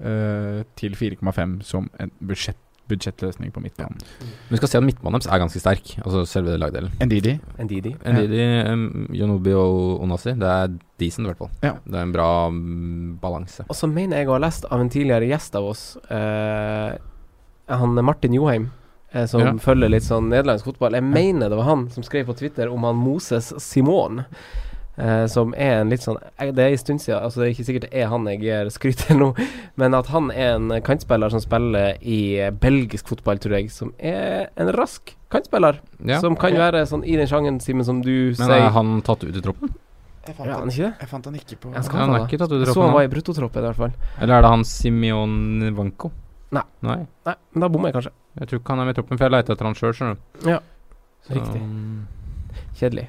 eh, til 4,5 som en budsjett, budsjettløsning på midtbanen. Men vi skal se at midtmannen deres er ganske sterk, altså selve lagdelen. Ndidi. Ndidi. Ndidi, um, Yonobi og Onasi. Det er decent, i hvert fall. Ja. Det er en bra mm, balanse. Og så mener jeg å ha lest av en tidligere gjest av oss, eh, han Martin Joheim, eh, som Ja. følger litt sånn nederlandsk fotball. Jeg mener det var han som skrev på Twitter om han Moses Simon. eh, som er en litt sånn eh, Det er en stund siden, altså det er ikke sikkert det er han jeg gir skryt til nå, men at han er en kantspiller som spiller i eh, belgisk fotball, tror jeg, som er en rask kantspiller. Ja. Som kan være sånn i den sjangeren, Simen, som du Men sier. er han tatt ut i troppen? Jeg Ja, han er ikke det? Jeg fant han ikke på Ja, skal Ja, han ta er det. ikke tatt ut i Jeg troppen, Så han han. var i bruttotroppen, i hvert fall. Eller er det han Simeon Vanko? Nei. Nei. Nei, men da bommer jeg kanskje. Jeg tror ikke han er med i troppen, for jeg leita etter han sjøl, skjønner du. Ja. Så, Riktig. Um, Kjedelig.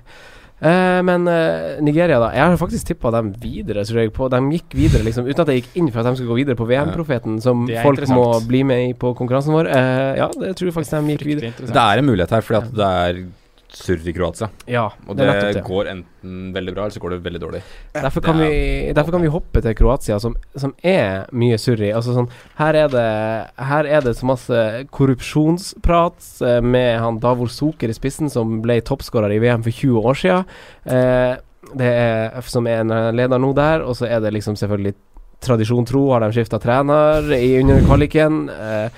Eh, men eh, Nigeria, da. Jeg har faktisk tippa dem videre, tror jeg. På. De gikk videre, liksom, uten at jeg gikk inn for at de skulle gå videre på VM-profeten, som Det er folk må interessant. bli med i på konkurransen vår. Eh, ja, det tror jeg faktisk de gikk videre. Det er en mulighet her, fordi at det er surr i Kroatia. Ja, og det det, er nettopp det. går enten veldig bra, eller så går det veldig dårlig. Derfor kan, Det er- vi, derfor kan vi hoppe til Kroatia, som, som er mye surr i. Altså sånn, her, er det, her er det så masse korrupsjonsprat eh, med han Davor Soker i spissen, som ble toppskårer i VM for 20 år siden. Eh, det er F som er en leder nå der, og så er det liksom selvfølgelig tradisjon tro, har de skifta trener i under kvaliken. Eh,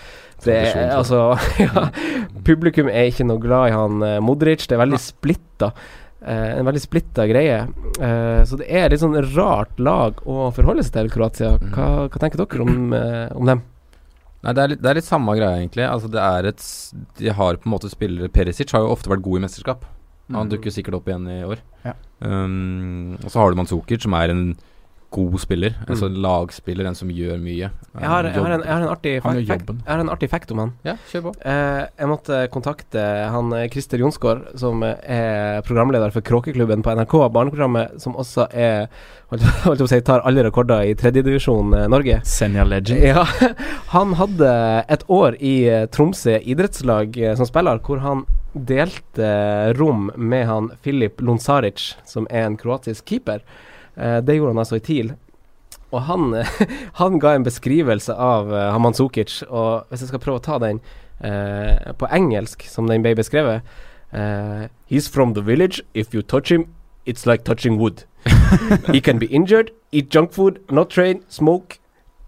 det er, altså, <laughs> ja, publikum er ikke noe glad i han eh, Modric. Det er veldig splitta. Eh, en veldig splitta greie. Eh, så det er litt sånn rart lag å forholde seg til, Kroatia. Mm. Hva, hva tenker dere om, eh, om dem? Nei, det er, litt, det er litt samme greia, egentlig. Altså, det er et s- De har på en måte spillere Perisic har jo ofte vært god i mesterskap. Han Mm. dukker sikkert opp igjen i år. Ja. Um, og så har du Manzukic, som er en god spiller. Mm. Altså en lagspiller, en som gjør mye. Um, Jeg har, jeg har, en, jeg har en artig Han gjør fact- fact- jobben. jeg har en artig fact om han. Ja, kjør på. Eh, jeg måtte kontakte han eh, Christer Jonsgaard, som eh, er programleder for Kråkeklubben på NRK, barneprogrammet, som også er holdt, holdt jeg på å si, tar alle rekorder i tredjedivisjon eh, Norge. Senja Legend. Ja, <laughs> han hadde et år i eh, Tromsø idrettslag eh, som spiller, hvor han delte eh, rom med han Filip Lonsaric, som er en kroatisk keeper. Eh, det gjorde han altså i TIL. Og han, <laughs> han ga en beskrivelse av eh, Haman Sukic, og hvis jeg skal prøve å ta den eh, på engelsk, som den ble beskrevet eh, He's from the village. If you touch him, it's like touching wood. he can be injured, eat junk food, not train, smoke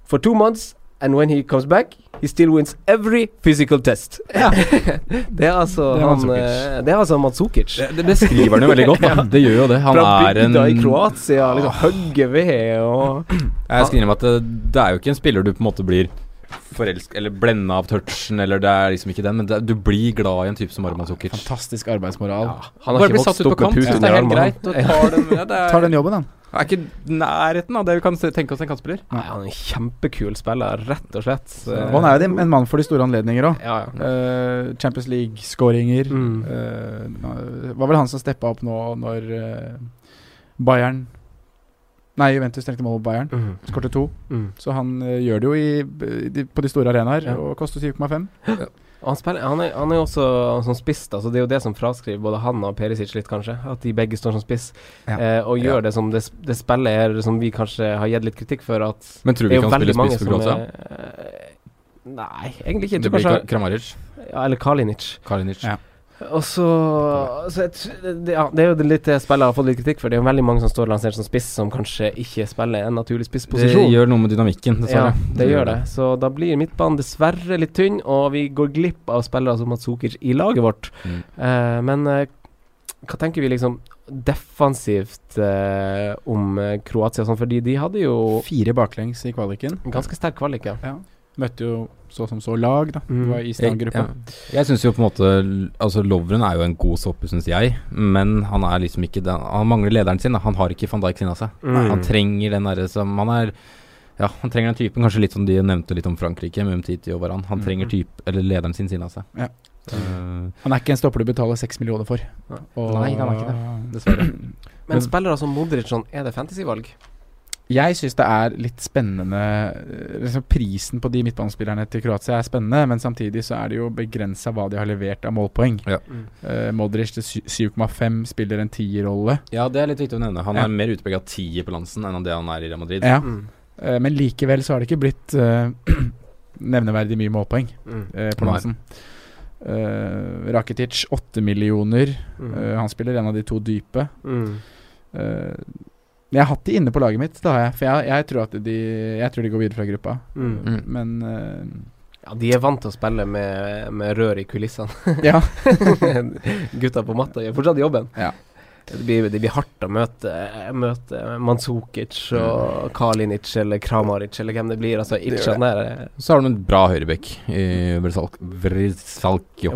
for two months, and when he comes back, he still wins every physical test. det er altså Det er han Mandzukic. eh, Det er altså Matsukic. Det, det beskriver han jo veldig <laughs> godt, da. Det gjør jo det. Han Fra er en- bygda i Kroatia, liksom hogger ved og Jeg skriver om at det, det er jo ikke en spiller du på en måte blir forelska Eller blenda av touchen, eller det er liksom ikke den, men det, du blir glad i en type som Arman Zukic. Fantastisk arbeidsmoral. Han har Bare ikke bli vokst satt ut på opp med kant, pute det er under helt armene. greit, og tar den- ja, det er- Tar den jobben, han. Er ikke nærheten av det vi kan se- tenke oss en kantspiller. Nei, han er en kjempekul spiller, rett og slett. Eh, Og han er jo de- en mann for de store anledninger òg. Ja, ja. Champions League-skåringer. Mm. Eh, Det var vel han som steppa opp nå når eh, Bayern Nei, Juventus trengte mål mot Bayern. Mhm. Skårte to. Mm. Så han eh, gjør det jo i, i, de- på de store arenaer og koster 7,5. Og han, spiller, han, er, han er jo også som spiss, da, så det er jo det som fraskriver både han og Perisic litt, kanskje. At de begge står som spiss, eh, og gjør det som det, s- det spillet her som vi kanskje har gitt litt kritikk for, at Men tror du det er jo ikke han veldig spiller mange spiss for som Kroatia? er- Nei, egentlig ikke. Jeg Det tror blir kanskje- Kra- Kramaric. Ja, eller Kalinic. Kalinic. Ja. Og så, så jeg, tr- det, ja, det er jo det litt det spillet jeg har fått litt kritikk for. Det er jo veldig mange som står lansert som spiss, som kanskje ikke spiller en naturlig spissposisjon. Det gjør noe med dynamikken, dessverre. Ja, det gjør det. Så da blir midtbanen dessverre litt tynn, og vi går glipp av spillere som Matsukic i laget vårt. Mm. Eh, men eh, hva tenker vi liksom defensivt eh, om eh, Kroatia og sånn, fordi de hadde jo Fire baklengs i kvaliken. ganske sterk kvalik, ja. Ja. Møtte jo så som så lag, da. Mm. Det var Island-gruppa. Jeg, ja. jeg syns jo på en måte Altså Lovren er jo en god stopper, syns jeg, men han er liksom ikke den Han mangler lederen sin. da. Han har ikke van Dijk sin av seg. Mm. Han trenger den derre som Han er ja, han trenger den typen, kanskje litt som de nevnte litt om Frankrike, med Umtiti og Varan. Han Mm. trenger typ, eller lederen sin siden av seg. Ja. Eh, Han er ikke en stopper du betaler seks millioner for. Nei, han er ikke det. Dessverre. Men spillere som Modric sånn, er det fantasyvalg? <clears throat> Jeg syns det er litt spennende eh, liksom Prisen på de midtbanespillerne til Kroatia er spennende, men samtidig så er det jo begrensa hva de har levert av målpoeng. Mm. Eh, Modric til sy- 7,5 spiller en tierrolle. Ja, det er litt viktig å nevne. Han Ja. er mer utprega tier på Lansen enn det han er i Real Madrid. Ja. Mm, Eh, men likevel så har det ikke blitt eh, <clears throat> nevneverdig mye målpoeng Mm. eh, på Nei. Nansen. Eh, Rakitic 8 millioner. Mm. Eh, han spiller en av de to dype. Mm. Eh, jeg har hatt de inne på laget mitt, det har jeg. For jeg, jeg, tror, at de, jeg tror de går videre fra gruppa. Mm. Eh, Men eh, <laughs> Ja, de er vant til å spille med, med rør i kulissene. <laughs> Ja. Gutta på matta gjør fortsatt jobben. Ja. Det blir, det blir hardt å møte, møte Manzukic og Kalinic eller Kramaric eller hvem det blir. Altså, gjør det. Itchan der Så har han en bra høyrebekk i Vrsalk- Vrsalkjo.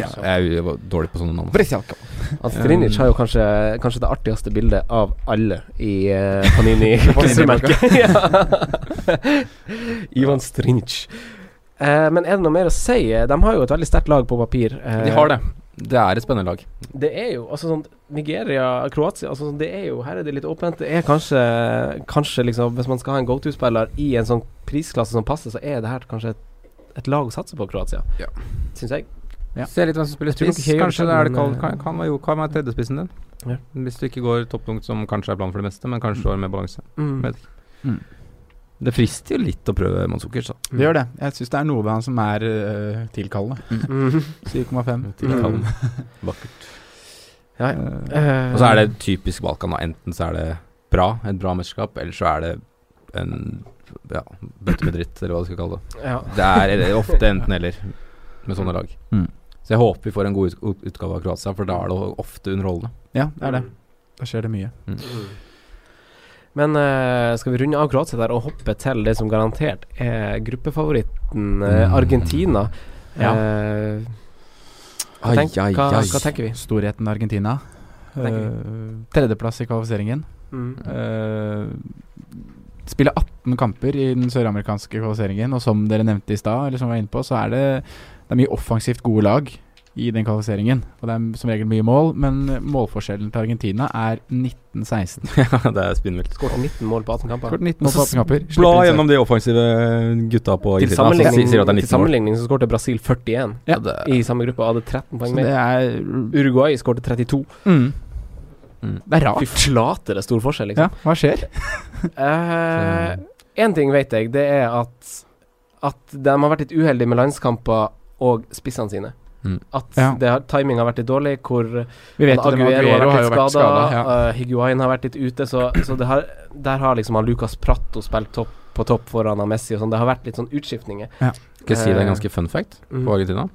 Ja. Jeg var dårlig på sånne navn. Strinic har jo kanskje, kanskje det artigste bildet av alle i eh, <laughs> Panini klistremerket. <laughs> Ja. Ivan Strinic. Eh, men er det noe mer å si? Eh, De har jo et veldig sterkt lag på papir. eh, De har det. Det er et spennende lag. Det er jo altså sånn Nigeria, Kroatia altså sånn, Det er jo Her er det litt åpent. Det er kanskje Kanskje liksom Hvis man skal ha en go-to-spiller i en sånn prisklasse som passer, så er det her kanskje et, et lag å satse på, Kroatia. Ja. Syns jeg. Se litt hvem som spiller Jeg tror spiss. nok ikke Kanskje det Høyre- er det kall- kan, kan, være- kan være tredjespissen din. eh, Ja. Hvis du ikke går toppunkt, som kanskje er planen for det meste, men kanskje du har mer balanse. Mm. Vet ikke. Mm. Det frister jo litt å prøve Manzukic, da. Det gjør det. Jeg syns det er noe ved han som er eh, tilkallende. Mhm. 7,5. Tilkallende. Vakkert. Eh, Mm. Og så er det typisk Balkan. Da. Enten så er det bra, et bra mesterskap, eller så er det en ja, bøtte med dritt, eller hva du skal kalle det. Eh, Ja. Det er eller ofte enten-eller med sånne lag. Mm. Så jeg håper vi får en god ut- ut- utgave av Kroatia, for da er det ofte underholdende. Ja, det er det. Da skjer det mye. Men eh, skal vi runde av Kroatia der og hoppe til det som garantert er gruppefavoritten, Mm. eh, Argentina? Ja. Eh, hva, Ai, tenk, ai, hva, ai. hva tenker vi? Eh, Storheten Argentina. Hva tenker Eh, tredjeplass i kvalifiseringen. Mm. Eh, spiller 18 kamper i den søramerikanske kvalifiseringen, og som dere nevnte i stad, eller som vi var inne på, så er det, det er mye offensivt gode lag i den kvalifiseringen. Og det er som regel mye mål, men målforskjellen til Argentina er 19-16. <laughs> Ja, det er spinnvilt. Skåret 19 mål på 18 kamper. Skåret 19 mål <laughs> på 18 kamper. Bla slipper inn gjennom de offensive gutta på Til Argentina, som sammenligning, sier at det er til 19 mål. sammenligning så skårte Brasil 41 Ja. i samme gruppe og hadde 13 seks. poeng Så det mer. er Uruguay skårte 32. mm, Mm. Det er Fy rart. flate, det er stor forskjell, Ja, liksom. hva skjer? Én ting vet jeg, det er at At de har vært litt uheldige med landskamper og spissene sine. Mm. At Ja. det har, timing har vært litt dårlig, hvor Vi vet at Aguero, har vært litt skada. skadet, ja. Higuain har vært litt ute, så, så det har, der har liksom han Lucas Pratto spilt topp på topp foran han Messi og sånn. Det har vært litt sånn utskiftninger. Skal jeg si det er Eh, en ganske fun fact mm. på Argentina?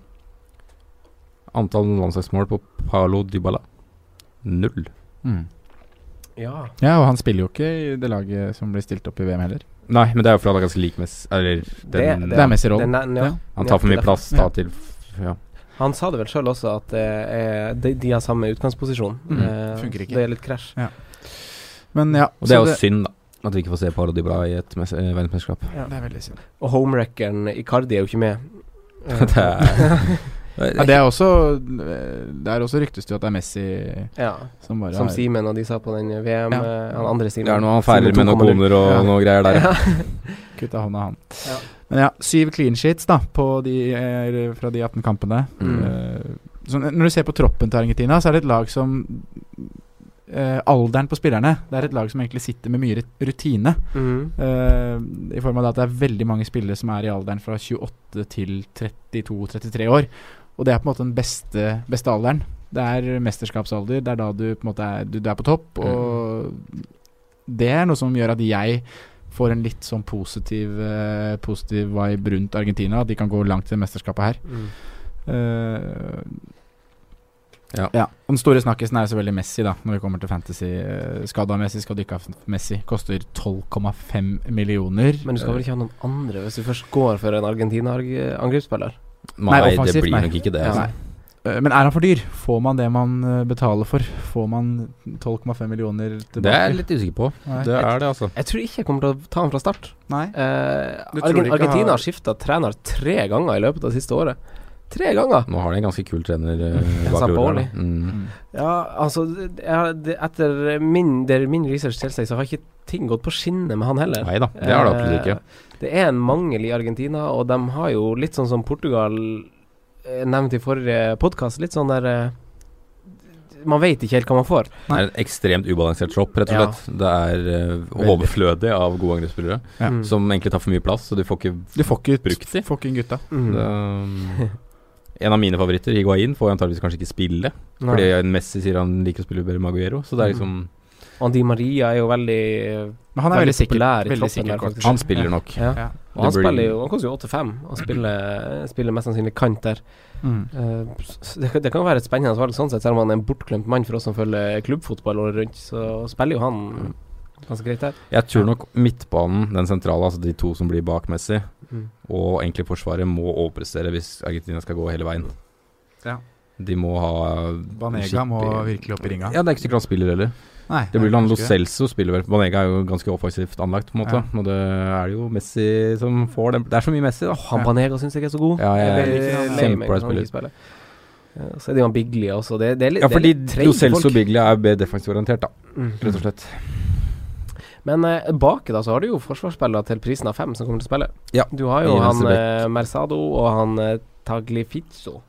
Antall landslagsmål på Paolo Dybala null. Mm. Ja. Ja, og han spiller jo ikke i det laget som blir stilt opp i VM heller. Nei, men det er jo fordi han er ganske lik Messi Eller den, det er Messi. Messi-rollen. Den er- ja. Ja. Han tar for mye Nøyaktig plass da til ja. Han sa det vel sjøl også, at det er, de, de har samme utgangsposisjon. Mm, Eh, funker ikke. Det er litt krasj. Men ja, Og det er så jo synd, da. At vi ikke får se Paolo Dybala i et mes- eh, verdensmesterskap. det er veldig synd. Og homewreckeren Icardi er jo ikke med. Eh, <laughs> Det er- Ja, det er også eh, Der også ryktes det jo at det er Messi ja, som bare som har Simen og de sa på den VM, Ja. eh, han andre Simen. Det er noe han feirer med noen Simen 2,0. koner og Ja. noe greier der. Ja. kutta hånda, han. Ja. Men ja, syv clean sheets da på de, eh, fra de 18 kampene. Mm. Eh, så når du ser på troppen til Argentina, så er det et lag som eh, Alderen på spillerne Det er et lag som egentlig sitter med mye rut- rutine. Mhm. eh, I form av det at det er veldig mange spillere som er i alderen fra 28 til 32-33 år. Og det er på en måte den beste, beste alderen. Det er mesterskapsalder. Det er da du på en måte er, du, du er på topp. Og det er noe som gjør at jeg får en litt sånn positiv, eh, positiv vibe rundt Argentina. At de kan gå langt i det mesterskapet her. Mm. Eh, Ja. ja. Og Den store snakkisen er jo selvfølgelig Messi, da når vi kommer til fantasy. Eh, Skada Messi, skadd ikke av Messi. Koster 12,5 millioner. Men du skal vel ikke ha noen andre hvis du først går for en Argentina-angripsspiller? Nei, det offensivt, blir nei. nok ikke det. Ja. Altså. Nei. Eh, Men er han for dyr? Får man det man eh, betaler for? Får man 12,5 millioner tilbake? Det er jeg litt usikker på. Nei. Det er det, altså. Jeg tror ikke jeg kommer til å ta han fra start. Nei. Eh, Du tror Argen ikke Argentina har- har skifta trener tre ganger i løpet av det siste året. Tre ganger. Nå har de en ganske kul trener eh, Jeg bak sa roret. Pauli. her, da. Mm. Ja, altså det- jeg har- det- Etter min, det min research tilsier, så har ikke ting gått på skinner med han heller. Neida, det har det absolutt Eh, ikke. Det er en mangel i Argentina, og de har jo litt sånn som Portugal eh, nevnt i forrige podkast, litt sånn der eh, Man vet ikke helt hva man får. Det er en ekstremt ubalansert tropp, rett og Ja. slett. Det er eh, overflødig av gode angrepsspillere Ja. Mm. som egentlig tar for mye plass, så du får ikke Du får ikke brukt de. fucking gutta. Mm. eh, Det, um, en av mine favoritter, Higuain, får jo antageligvis kanskje ikke spille. Nei. Mm. Fordi Messi sier han liker å spille bedre med Aguero, så det er liksom Og Di Maria er jo veldig Men han er veldig sikker- populær i veldig troppen sikker der, kort. faktisk. Han spiller nok. Ja. Ja. Og han Det blir- spiller jo Han koster jo 8-5 og spiller, spiller mest sannsynlig kant der. Mm. Eh, s- det, kan- det kan jo være et spennende valg sånn sett, selv om han er en bortglemt mann for oss som følger klubbfotball året rundt, så spiller jo han ganske greit der. Jeg tror nok midtbanen, den sentrale, altså de to som blir bak Messi, Mm. og egentlig Forsvaret, må overprestere hvis Argentina skal gå hele veien. Ja. De må ha Banega må skikkelig- virkelig opp i ringa. Ja, det er ikke sikkert han spiller heller. Nei, det blir nei, han Lo kanskje ikke. Celso spiller vel. Banega er jo ganske offensivt anlagt, på en måte. Og det er det jo Messi som får den. Det er så mye Messi, da. Han Banega syns jeg er så god. Ja, jeg Jeg er blir lei meg kjempebra når han ikke spiller. spiller. Ja, så er det jo han Biglia også. Det, det er litt, Ja, fordi det er Lo litt treige Celso folk. Biglia er mer defensivt orientert, da. Mm. Rett og slett. Men eh, bak da så har du jo forsvarsspillere til prisen av fem som kommer til å spille. Ja, Du har jo i han venstre eh, Mersado og han eh, Taglifizzo,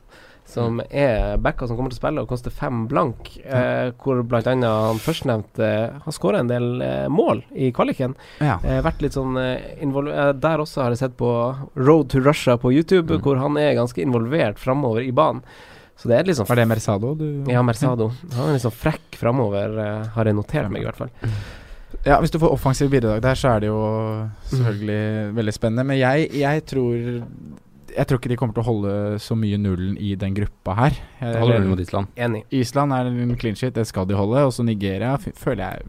som Mm. er backer som kommer til å spille og koster fem blank. Eh, hvor blant annet han førstnevnte eh, har skåra en del eh, mål i kvaliken. Ja. Eh, vært litt sånn eh, invol- eh, Der også har jeg sett på Road to Russia på YouTube, Mm. hvor han er ganske involvert framover i banen. Så det er liksom Var det Mm. Mersado du Ja, Mersado. Han er liksom frekk framover, eh, har jeg notert meg i hvert fall. Ja, hvis du får offensive bidrag der, så er det jo Mhm. selvfølgelig veldig spennende. Men jeg, jeg tror Jeg tror ikke de kommer til å holde så mye nullen i den gruppa her. Jeg- Holder nullen mot Island. Enig. Island er en clean shit, det skal de holde. Og så Nigeria f- føler jeg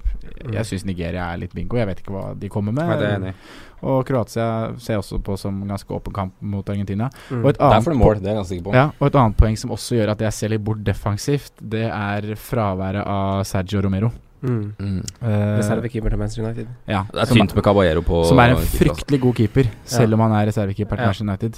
Jeg syns Nigeria er litt bingo. Jeg vet ikke hva de kommer med. Mhm. Nei, det er jeg enig i. Og Kroatia ser jeg også på som ganske åpen kamp mot Argentina. Mm. Og et Der annet får de mål, det po- er jeg ganske sikker på. Ja, og et annet poeng som også gjør at jeg ser litt bort defensivt, det er fraværet av Sergio Romero. Mm. Mm. Eh, Reservekeeper til Manchester United. Ja, Det er som- tynt med Caballero på altså. Som er en keeperplass. fryktelig god keeper, selv Ja. om han er reservekeeper til Ja. Manchester United.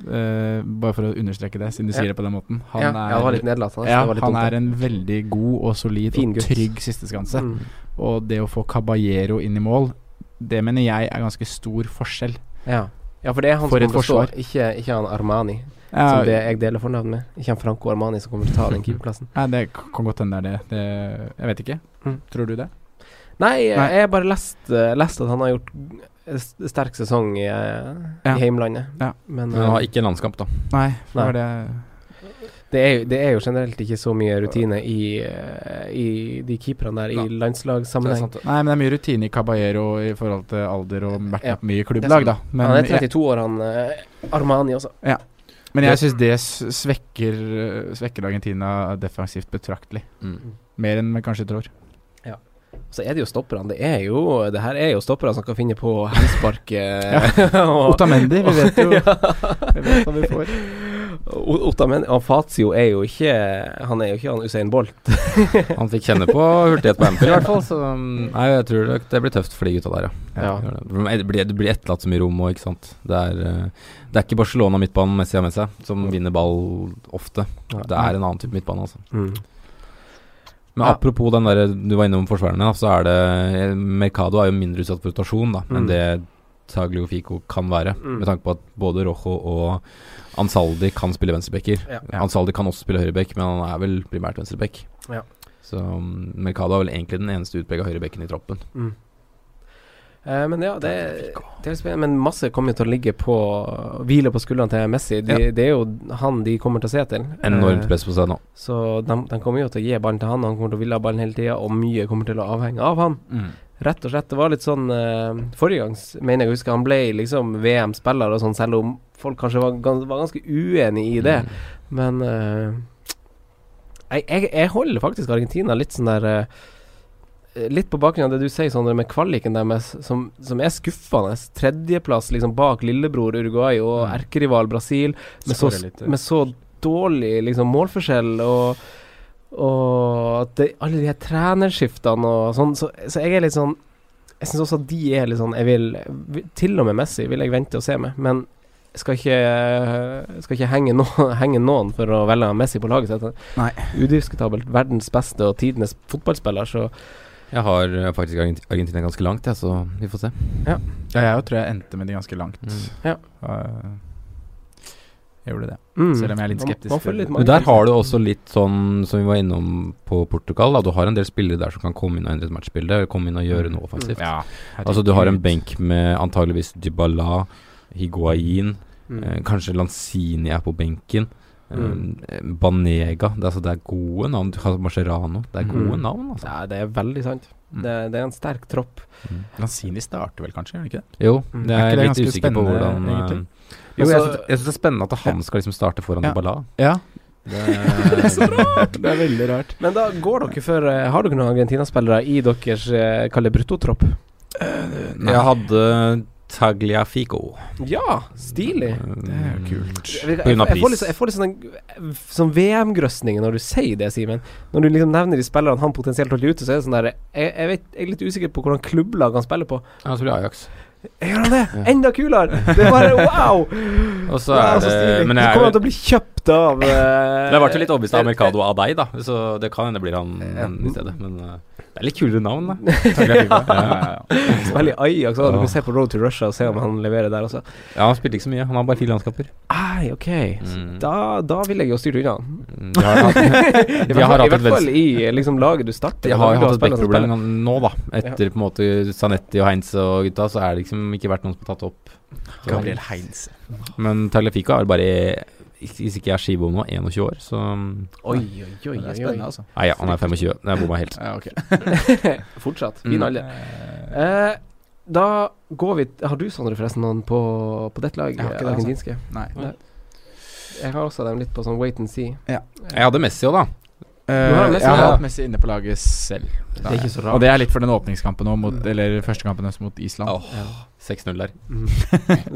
Eh, bare for å understreke det, siden du Ja. sier det på den måten. Han Ja. er, Ja, det var litt nedlatende, så det Ja, var litt han dumt, er det. en veldig god og solid Fin og gutt. trygg sisteskanse. Mm. Og det å få Caballero inn i mål, det mener jeg er ganske stor forskjell. Ja. ja, for det er han For som kommer et til å forsvar. stå, ikke, ikke han Armani. Ja. Som det jeg deler fornavn med. Ikke han Franco Armani som kommer til å <laughs> ta den keeperplassen. Nei, det k- kan godt hende det er det. det jeg vet ikke. Mm. Tror du det? Nei, jeg Nei. jeg har bare lest, eh, lest at han har gjort eh, s- sterk sesong i, eh, Ja. i heimlandet. Ja. Men, Men han har eh, ikke en landskamp, da. Nei, det Nei. var det det, er, jo- det er jo generelt ikke så mye rutine i, eh, i de keeperne der i landslagssammenheng. Nei, men det er mye rutine i Caballero i forhold til alder og vært Ja. mye i klubblag, da. Men han er jeg- 32 år, han eh, Armani også. Ja. Men jeg Det- syns det s- svekker, øh, svekker Argentina defensivt betraktelig. Mm. Mer enn vi kanskje tror. Ja. Så er det jo stopperne. Det er jo Det her er jo stopperne som kan finne på eh, helspark <laughs> ja. Otamendi, vi <laughs> vet jo- vi vet hva vi får. Otamendi Og Fazio er jo ikke Han er jo ikke han Usain Bolt. Han fikk kjenne på hurtighet på Anfield, i hvert fall. Så um, nei, jeg tror det, det blir tøft for de gutta der, ja. Ja. Det blir, det blir etterlatt så mye rom og ikke sant. Det er, eh, det er ikke Barcelona midtbanen Messi har med seg, som vinner ball ofte. Nei. Det er en annen type midtbane, altså. Mm. Men Ja. apropos den der du var innom forsvarerne, da, så er det eh, Mercado er jo mindre utsatt for rotasjon da, Mm. enn det Tagliafico kan være. Mm. Med tanke på at både Rojo og Ansaldi kan spille venstrebacker. Ja. Ansaldi kan også spille høyreback, men han er vel primært venstreback. Ja. Så um, Mercado er vel egentlig den eneste utprega høyrebekken i troppen. Mm. Eh, men ja, det, det er spennende. Men masse kommer jo til å ligge på Hvile på skuldrene til Messi. De, Det er jo han de kommer til å se til. Enormt Eh, press på seg nå. Så de, de kommer jo til å gi ballen til han, han kommer til å ville ha ballen hele tida, og mye kommer til å avhenge av han. Mm. Rett og slett. Det var litt sånn eh, Forrige gang s- mener jeg å huske han ble liksom VM-spiller og sånn, selv om folk kanskje var, gans, var ganske uenig i det. Men eh, jeg, jeg, jeg holder faktisk Argentina litt sånn der eh, Litt på bakgrunn av det du sier, Sondre, med kvaliken deres, som, som er skuffende. Tredjeplass liksom bak lillebror Uruguay og erkerival Brasil, med så, Skårer litt, eh. ja. med så dårlig liksom målforskjell og og at det, alle de her trenerskiftene og sånn, så, så jeg er litt sånn Jeg syns også at de er litt sånn Jeg vil Til og med Messi vil jeg vente og se med, men skal ikke, skal ikke henge, noen, <laughs> henge noen for å velge Messi på laget sitt. Nei. Udiskutabelt verdens beste og tidenes fotballspiller, så Jeg har eh, faktisk Argent- Argentina ganske langt, jeg, så vi får se. Ja. Ja, jeg tror jeg endte med de ganske langt. Ja. Eh, jeg gjorde det. Mm. Selv om jeg er litt Man- skeptisk. man får litt Men der har du også litt sånn som vi var innom på Portugal. Da. Du har en del spillere der som kan komme inn og endre et matchbilde. Komme inn og gjøre noe offensivt. Ja, altså Du har en benk med antageligvis Dybala, Higuain, Mm. eh, kanskje Lanzini er på benken. Mm. eh, Banega det, er altså, det er gode navn. Du har Mascherano. Det er gode Mm. navn, altså. Nei, det er veldig sant. Mm. Det, det er en sterk tropp. Lanzini starter vel kanskje, gjør han ikke det? Jo, Mm. det Er er, ikke det litt ganske usikker på spennende, hvordan eh, egentlig? Jo, Altså- jeg syns jeg syns det er spennende at han skal liksom starte foran Ja. <laughs> Dybala. Ja. <laughs> <laughs> Det er så rart! Det er veldig rart. Men da går dere for eh, Har dere noen Argentina-spillere i deres eh, Kalle Brutto-tropp? Jeg hadde Tagliafico. Ja, stilig. Det er jo kult. Jeg, jeg, På grunn av jeg får litt, pris. jeg får litt sånn, en- sånn VM-grøsninger når du sier det, Simen. Når du liksom nevner de spillerne han potensielt holder ute, så er det sånn der Jeg, jeg, vet, jeg er litt usikker på hvordan klubblag han spiller på. Jeg tror Ajax. Gjør han det? Enda kulere! Det er bare wow! Og <laughs> så Wow, så er det altså, stilig. Men Så jeg er kommer han jo til å bli kjøpt <laughs> av Men jeg ble jo litt overbevist av eh, Mercado av deg, da. Så det kan hende blir han i stedet. Men eh, det er litt kulere navn, da. Tagliafico. Ja. Ja, ja, ja. Spiller i Ajax, så du Ja. kan se på Road to Russia og se om han leverer der også. Ja, han spilte ikke så mye. Han har bare fire landskamper. Ai, ok. Så Mm. Da, da vil jeg jo styre unna. han. Mm, De har <laughs> hatt, I hvert fall- de har i hatt hvert et fall venstre... i liksom, laget du starter. De med. Da har vil jo du hatt spillere et som backproblem spiller. altså. nå, da. Etter på en måte Zanetti og Heinz og gutta, så er det liksom ikke vært noen som har tatt opp. Så- Gabriel Heinz. Men Tagliafico er bare Hvis ikke jeg er skibom nå, 21 år, så Oi, oi, oi. Det er oi, spennende, oi. altså. Nei, ja, han er 25. Jeg bomma helt. Ja, ok. <laughs> Fortsatt. Mm. Fin alder. Eh, da går vi Har du, Sondre, forresten noen på, på ditt lag? eh, Jeg har ikke det, altså. argentinske? Nei. Nei. Jeg har også dem litt på sånn wait and see. Jeg hadde Messi òg, da. Eh, har Messi, jeg har ja. hatt Messi inne på laget selv. Det er ikke så Og rart. det er litt for den åpningskampen nå, mot, eller førstekampen også mot Island. Åh, 6-0 der.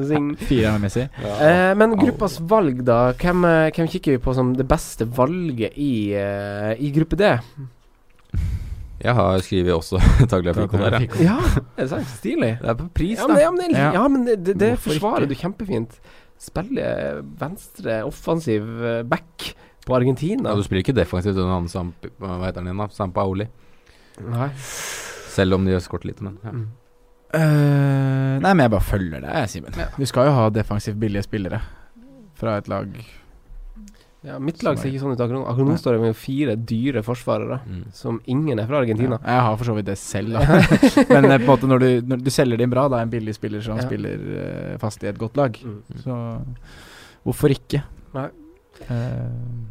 Zing. Fire med Messi. Eh, men gruppas valg, da. Hvem, eh, hvem kikker vi på som det beste valget i, eh, i gruppe D? Jeg har skrevet også <laughs> Tagliafico der, ja. Ja, er det sant? Stilig. Det er på pris, Ja, da. men, ja, men, det- Ja. ja, men det, det Hvorfor forsvarer ikke? du kjempefint. Spiller venstre offensiv eh, back på Argentina. Ja, du spiller ikke defensivt under han Samp... Hva heter han igjen, da? Sampaoli. Nei. Selv om de har skåret litt, men ja. Eh, nei, men jeg bare følger det, jeg, Simen. Du skal jo ha defensivt billige spillere fra et lag. Ja, mitt lag ser ikke sånn ut akkurat nå. Akkurat nå står det med fire dyre forsvarere, Mm. som ingen er fra Argentina. Ja, jeg har for så vidt det <laughs> selv, da. <laughs> men eh, på en måte når du, når du selger din bra, da er en billig spiller som Ja. spiller eh, fast i et godt lag. Mm. Så hvorfor ikke? Nei. Eh,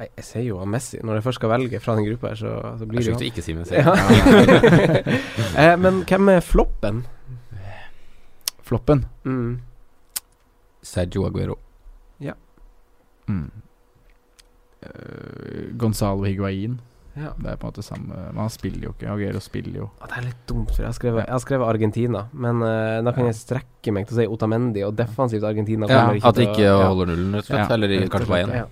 Nei, jeg ser jo av Messi. Når jeg først skal velge fra den gruppa her, så, så blir Jeg det skjønte jo ikke si <laughs> Messi. ja. <laughs> eh, Men hvem er floppen? Floppen. Mm. Sergio Aguero. Mm. Eh, Gonzalo Higuain. Ja. Det er på en måte samme Men han spiller jo ikke. Aguero spiller jo. Å, det er litt dumt, for jeg har skrevet, jeg har skrevet Argentina. Men eh, da kan jeg strekke meg til å si Otamendi, og defensivt Argentina Ja, kommer at de til å- ikke holder nullen, rett og slett. Ja. Eller i- Rett og kanskje slett, veien. Ja.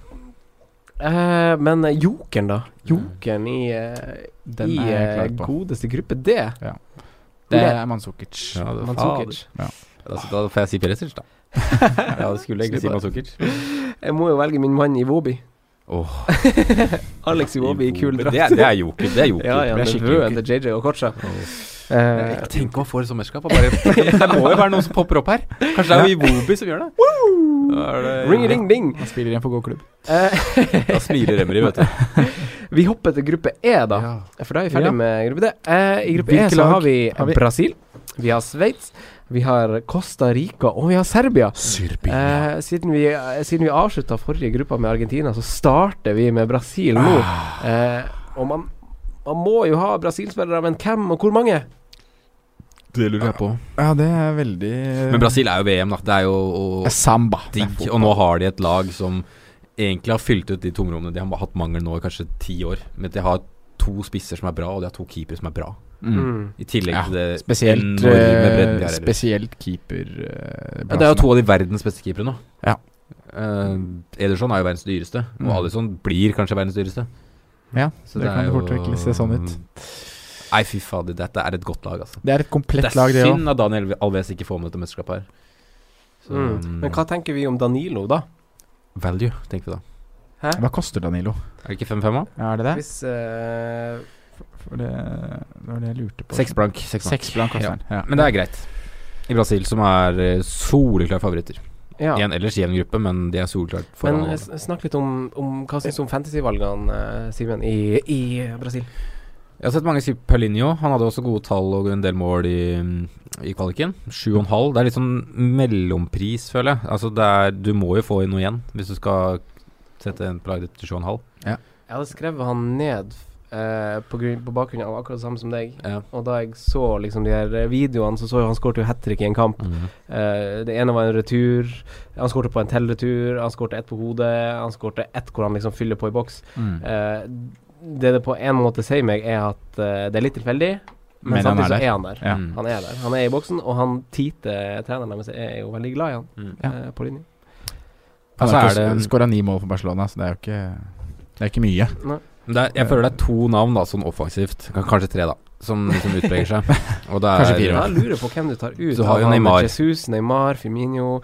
Eh, men eh, jokeren, da? Jokeren i, eh, Den i er jeg eh, klar på. godeste gruppe D? Det Ole. er Manzukic. Ja, det- Mandzukic. Da, da får jeg si Peresic, da. ja, det skulle egentlig si Masukic. Jeg må jo velge min mann Iwobi. Åh. Alex Iwobi i kul drakt. Det, er- det er joker. Det er <laughs> joker. eh, Ja, ja, det er den skikkelig joker. røde JJ Okocha. Eh, Jeg tenker man får et sommerskap. og Bare, <laughs> det må jo være <laughs> noen som popper opp her. Kanskje det er Iwobi som gjør det. Da, er det Ring-ring-ding! Han spiller igjen for god klubb. da smiler Emry, vet du. eh, <laughs> vi hopper til gruppe E, da. For da er vi ferdig Ja. med gruppe D. Eh, I gruppe E Hvilke så lag har vi, har vi? Brasil, vi har Sveits, vi har Costa Rica og vi har Serbia. Eh, siden vi, eh, siden vi avslutta forrige gruppa med Argentina, så starter vi med Brasil nå. Ah. Eh, og man, man må jo ha Brasil-spillere, men hvem og hvor mange? Det lurer jeg på. Ja, det er veldig Men Brasil er jo VM, da. Det er jo og, Samba. digg. Og nå har de et lag som egentlig har fylt ut de tomrommene. De har hatt mangel nå i kanskje ti år. Men de har to spisser som er bra, og de har to keepere som er bra. Mm. I tillegg Ja, til det Spesielt, enorme bredden eh, de har ellers. spesielt keeper eh, Ja, det er jo Brasil. to av de verdens beste keepere nå. Ja. Eh, Ederson er jo verdens dyreste, og Mm. Alisson blir kanskje verdens dyreste. Ja, Så det, er kan jo jo- eh, fort virkelig se sånn ut. Nei, fy fader, dette er et godt lag, altså. Det er et komplett det er lag, det òg. synd at Daniel Alves ikke får med dette mesterskapet her. Så, um, Mm. Men hva tenker vi om Danilo, da? Value, tenkte vi da. Hæ? Hva koster Danilo? Er det ikke 5-5, da? Ja, er det det? Hvis eh, For det, det var det jeg lurte på. Seks blank. Seks blank. Seks blank koster den. Ja. Men det er greit. I Brasil, som er eh, soleklare favoritter. Ja. I en ellers jevn gruppe, men de er soleklart foran. Men eh, s- snakk litt om, om hva syns du om fantasyvalgene, eh, Simen, i, i Brasil? Jeg har sett mange si Paulinho. Han hadde også gode tall og en del mål i, i kvaliken. 7,5. Det er litt sånn mellompris, føler jeg. Altså det er, du må jo få inn noe igjen hvis du skal sette en på laget til 7,5. Jeg hadde skrevet han ned eh, på, grunn, på bakgrunn av akkurat det samme som deg. Ja. Og da jeg så liksom de her videoene, så så jeg han skårte jo hat trick i en kamp. Mhm. Eh, det ene var en retur. Han skårte på en tellretur. Han skårte ett på hodet. Han skårte ett hvor han liksom fyller på i boks. Mm. Eh, det det på en måte sier meg, er at eh, det er litt tilfeldig, men, Men han samtidig er så der. er han der. Ja. Han er der. Han er i boksen, og han Tite, treneren deres, er jo veldig glad i han. Mm. Ja. eh, på linje. Han Altså, har er ikke det- skåra ni mål for Barcelona, så det er jo ikke, det er ikke mye. Men Det er, jeg føler det er to navn da sånn offensivt, K- kanskje tre, da, som liksom utpreger <laughs> seg. Og det er, Kanskje fire. Da lurer jeg på hvem du tar ut. Du har jo Han med Neymar. Jesus, Neymar, Firmino,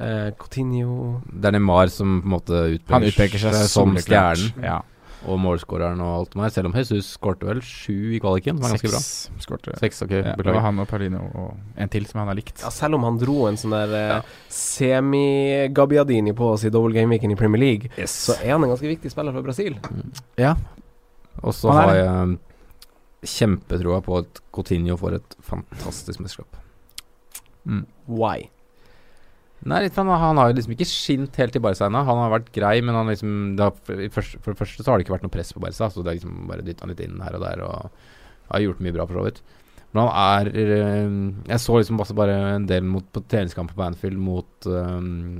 eh, Coutinho det er Neymar som på en måte utpeker, Han utpeker seg som soleklart. stjernen. Ja. Og målskåreren og alt mer. Selv om Jesus skårte vel sju i kvaliken, var ganske bra. Seks skårte. Seks, ok, Ja, det var beklager. han og Paulino og en til som han har likt. Ja, selv om han dro en sånn der eh, semi-Gabiadini på oss i double game-weeken i Premier League, så er han en ganske viktig spiller for Brasil. Og så Han er har jeg um, kjempetroa på at Coutinho får et fantastisk mesterskap. Why? Nei, litt, han, han har jo liksom ikke skint helt i Barca ennå. Han har vært grei, men han liksom det har, for, i første, for det første så har det ikke vært noe press på Barca, så det er liksom bare dytta han litt inn her og der, og har gjort mye bra, for så vidt. Men han er um, Jeg så liksom også bare en del mot, på treningskampen på Anfield mot um,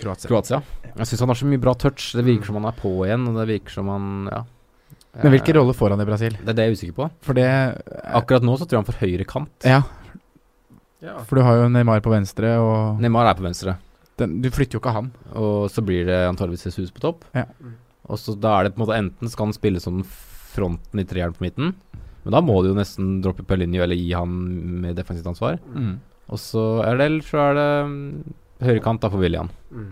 Kroatia. Kroatia. Jeg syns han har så mye bra touch. Det virker som han er på igjen, og det virker som han Ja. Mm. Men hvilken Eh, rolle får han i Brasil? Det er det jeg er usikker på. For det Akkurat nå så tror jeg han får høyre kant. Ja, Ja. for du har jo Neymar på venstre, og Neymar er på venstre, den, du flytter jo ikke han. og så blir det antageligvis Jesus på topp. Ja. Og så da er det på en måte enten skal han spille som fronten i treeren på midten, men da må du jo nesten droppe Pellinio eller gi han med defensivt ansvar. Og så er det ellers så er det mm, høyre kant da for William. Mm.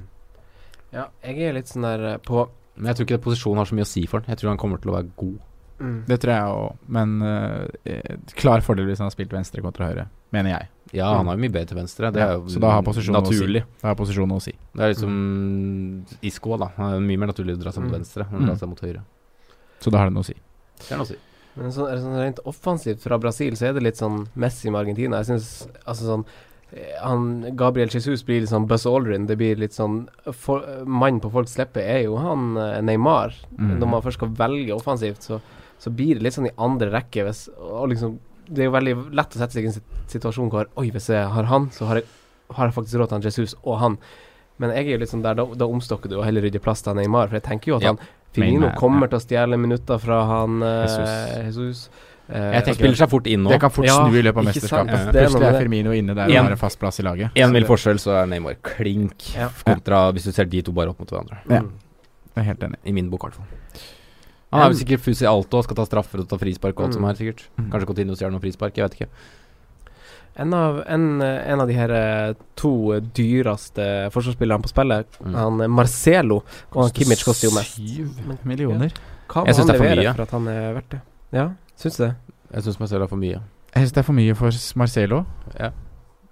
Ja, jeg er litt sånn der eh, på Men jeg tror ikke posisjonen har så mye å si for han. Jeg tror han kommer til å være god. mm. Det tror jeg òg, men eh, klar fordel hvis han har spilt venstre kontra høyre, mener jeg. Ja, han er jo mye bedre til venstre. Det Ja, er jo så da har posisjonen å si. naturlig. Da har posisjonen å si. Det er liksom Isco, da. Han er mye mer naturlig å dra seg mot Mm. venstre enn å Mm. dra seg mot høyre. Så da har det noe å si. Det er noe å si. Men sånn, er det sånn rent offensivt fra Brasil, så er det litt sånn Messi med Argentina. Jeg syns altså sånn eh, han, Gabriel Jesus blir litt sånn Buzz Aldrin. Det blir litt sånn for, Mannen på folks leppe er jo han eh, Neymar. Mm. Når man først skal velge offensivt, så, så blir det litt sånn i andre rekke hvis og liksom, Det er jo veldig lett å sette seg i en sit- situasjon hvor Oi, hvis jeg har han, så har jeg, har jeg faktisk råd til han Jesus og han. Men jeg er jo litt sånn der, da, da omstokker du og heller rydder plass til han Neymar, for jeg tenker jo at Ja. han Firmino Neymar, kommer til å stjele minutter fra han eh, Jesus. Jesus. Eh, Jeg tenker, spiller seg fort inn nå. Det kan fort Ja, snu i løpet av ikke sant? mesterskapet. Ja. Det er noe Plutselig er med det. Firmino inne der En- og har en fast plass i laget. Én mil forskjell, så er Neymar klink Ja. Mm. kontra hvis du ser de to bare opp mot hverandre. Ja. Jeg er helt enig. I min bok, i hvert fall. Han er vel sikkert fus i alt og skal ta straffer og ta frispark og alt Mm. som er, sikkert. Kanskje Coutinho stjeler noe frispark, jeg vet ikke. En av, en, eh, en av de her eh, to dyreste forsvarsspillerne på spillet, Mm. han eh, Marcelo og han Kimmich koster jo mest. Syv millioner. Hva må Jeg synes han det er for levere mye. for at han er verdt det? Ja, syns du det? Jeg syns meg selv er for mye. Jeg syns det er for mye for Marcelo. Ja.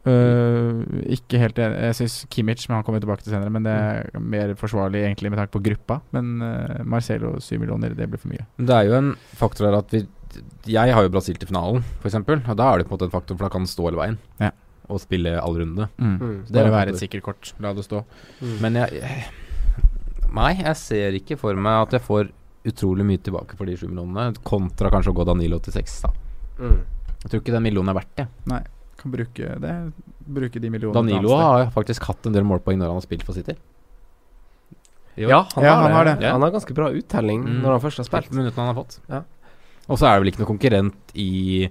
Øh, ikke helt enig. Jeg syns Kimmich, men han kommer vi tilbake til senere. Men det er mer forsvarlig egentlig med tanke på gruppa. Men øh, Marcelo syv millioner, det blir for mye. Men Det er jo en faktor her at vi Jeg har jo Brasil til finalen, f.eks., og da er det på en måte en faktor, for da kan han stå hele veien Ja. og spille all runde. Mm. Det er Bare jo være det. et sikkert kort. La det stå. Men jeg Nei, jeg ser ikke for meg at jeg får utrolig mye tilbake for de sju millionene, kontra kanskje å gå Danilo til seks, da. Mm. Jeg tror ikke den millionen er verdt det. Kan bruke det. Bruke de millionene. et Danilo har annet sted. faktisk hatt en del målpoeng når han har spilt for City. Jo. Ja, han, Ja, har, han det. har det. Ja. Han har ganske bra uttelling Mm. når han først har Spilt spilt. minuttene han har fått. Ja. Og så er det vel ikke noe konkurrent i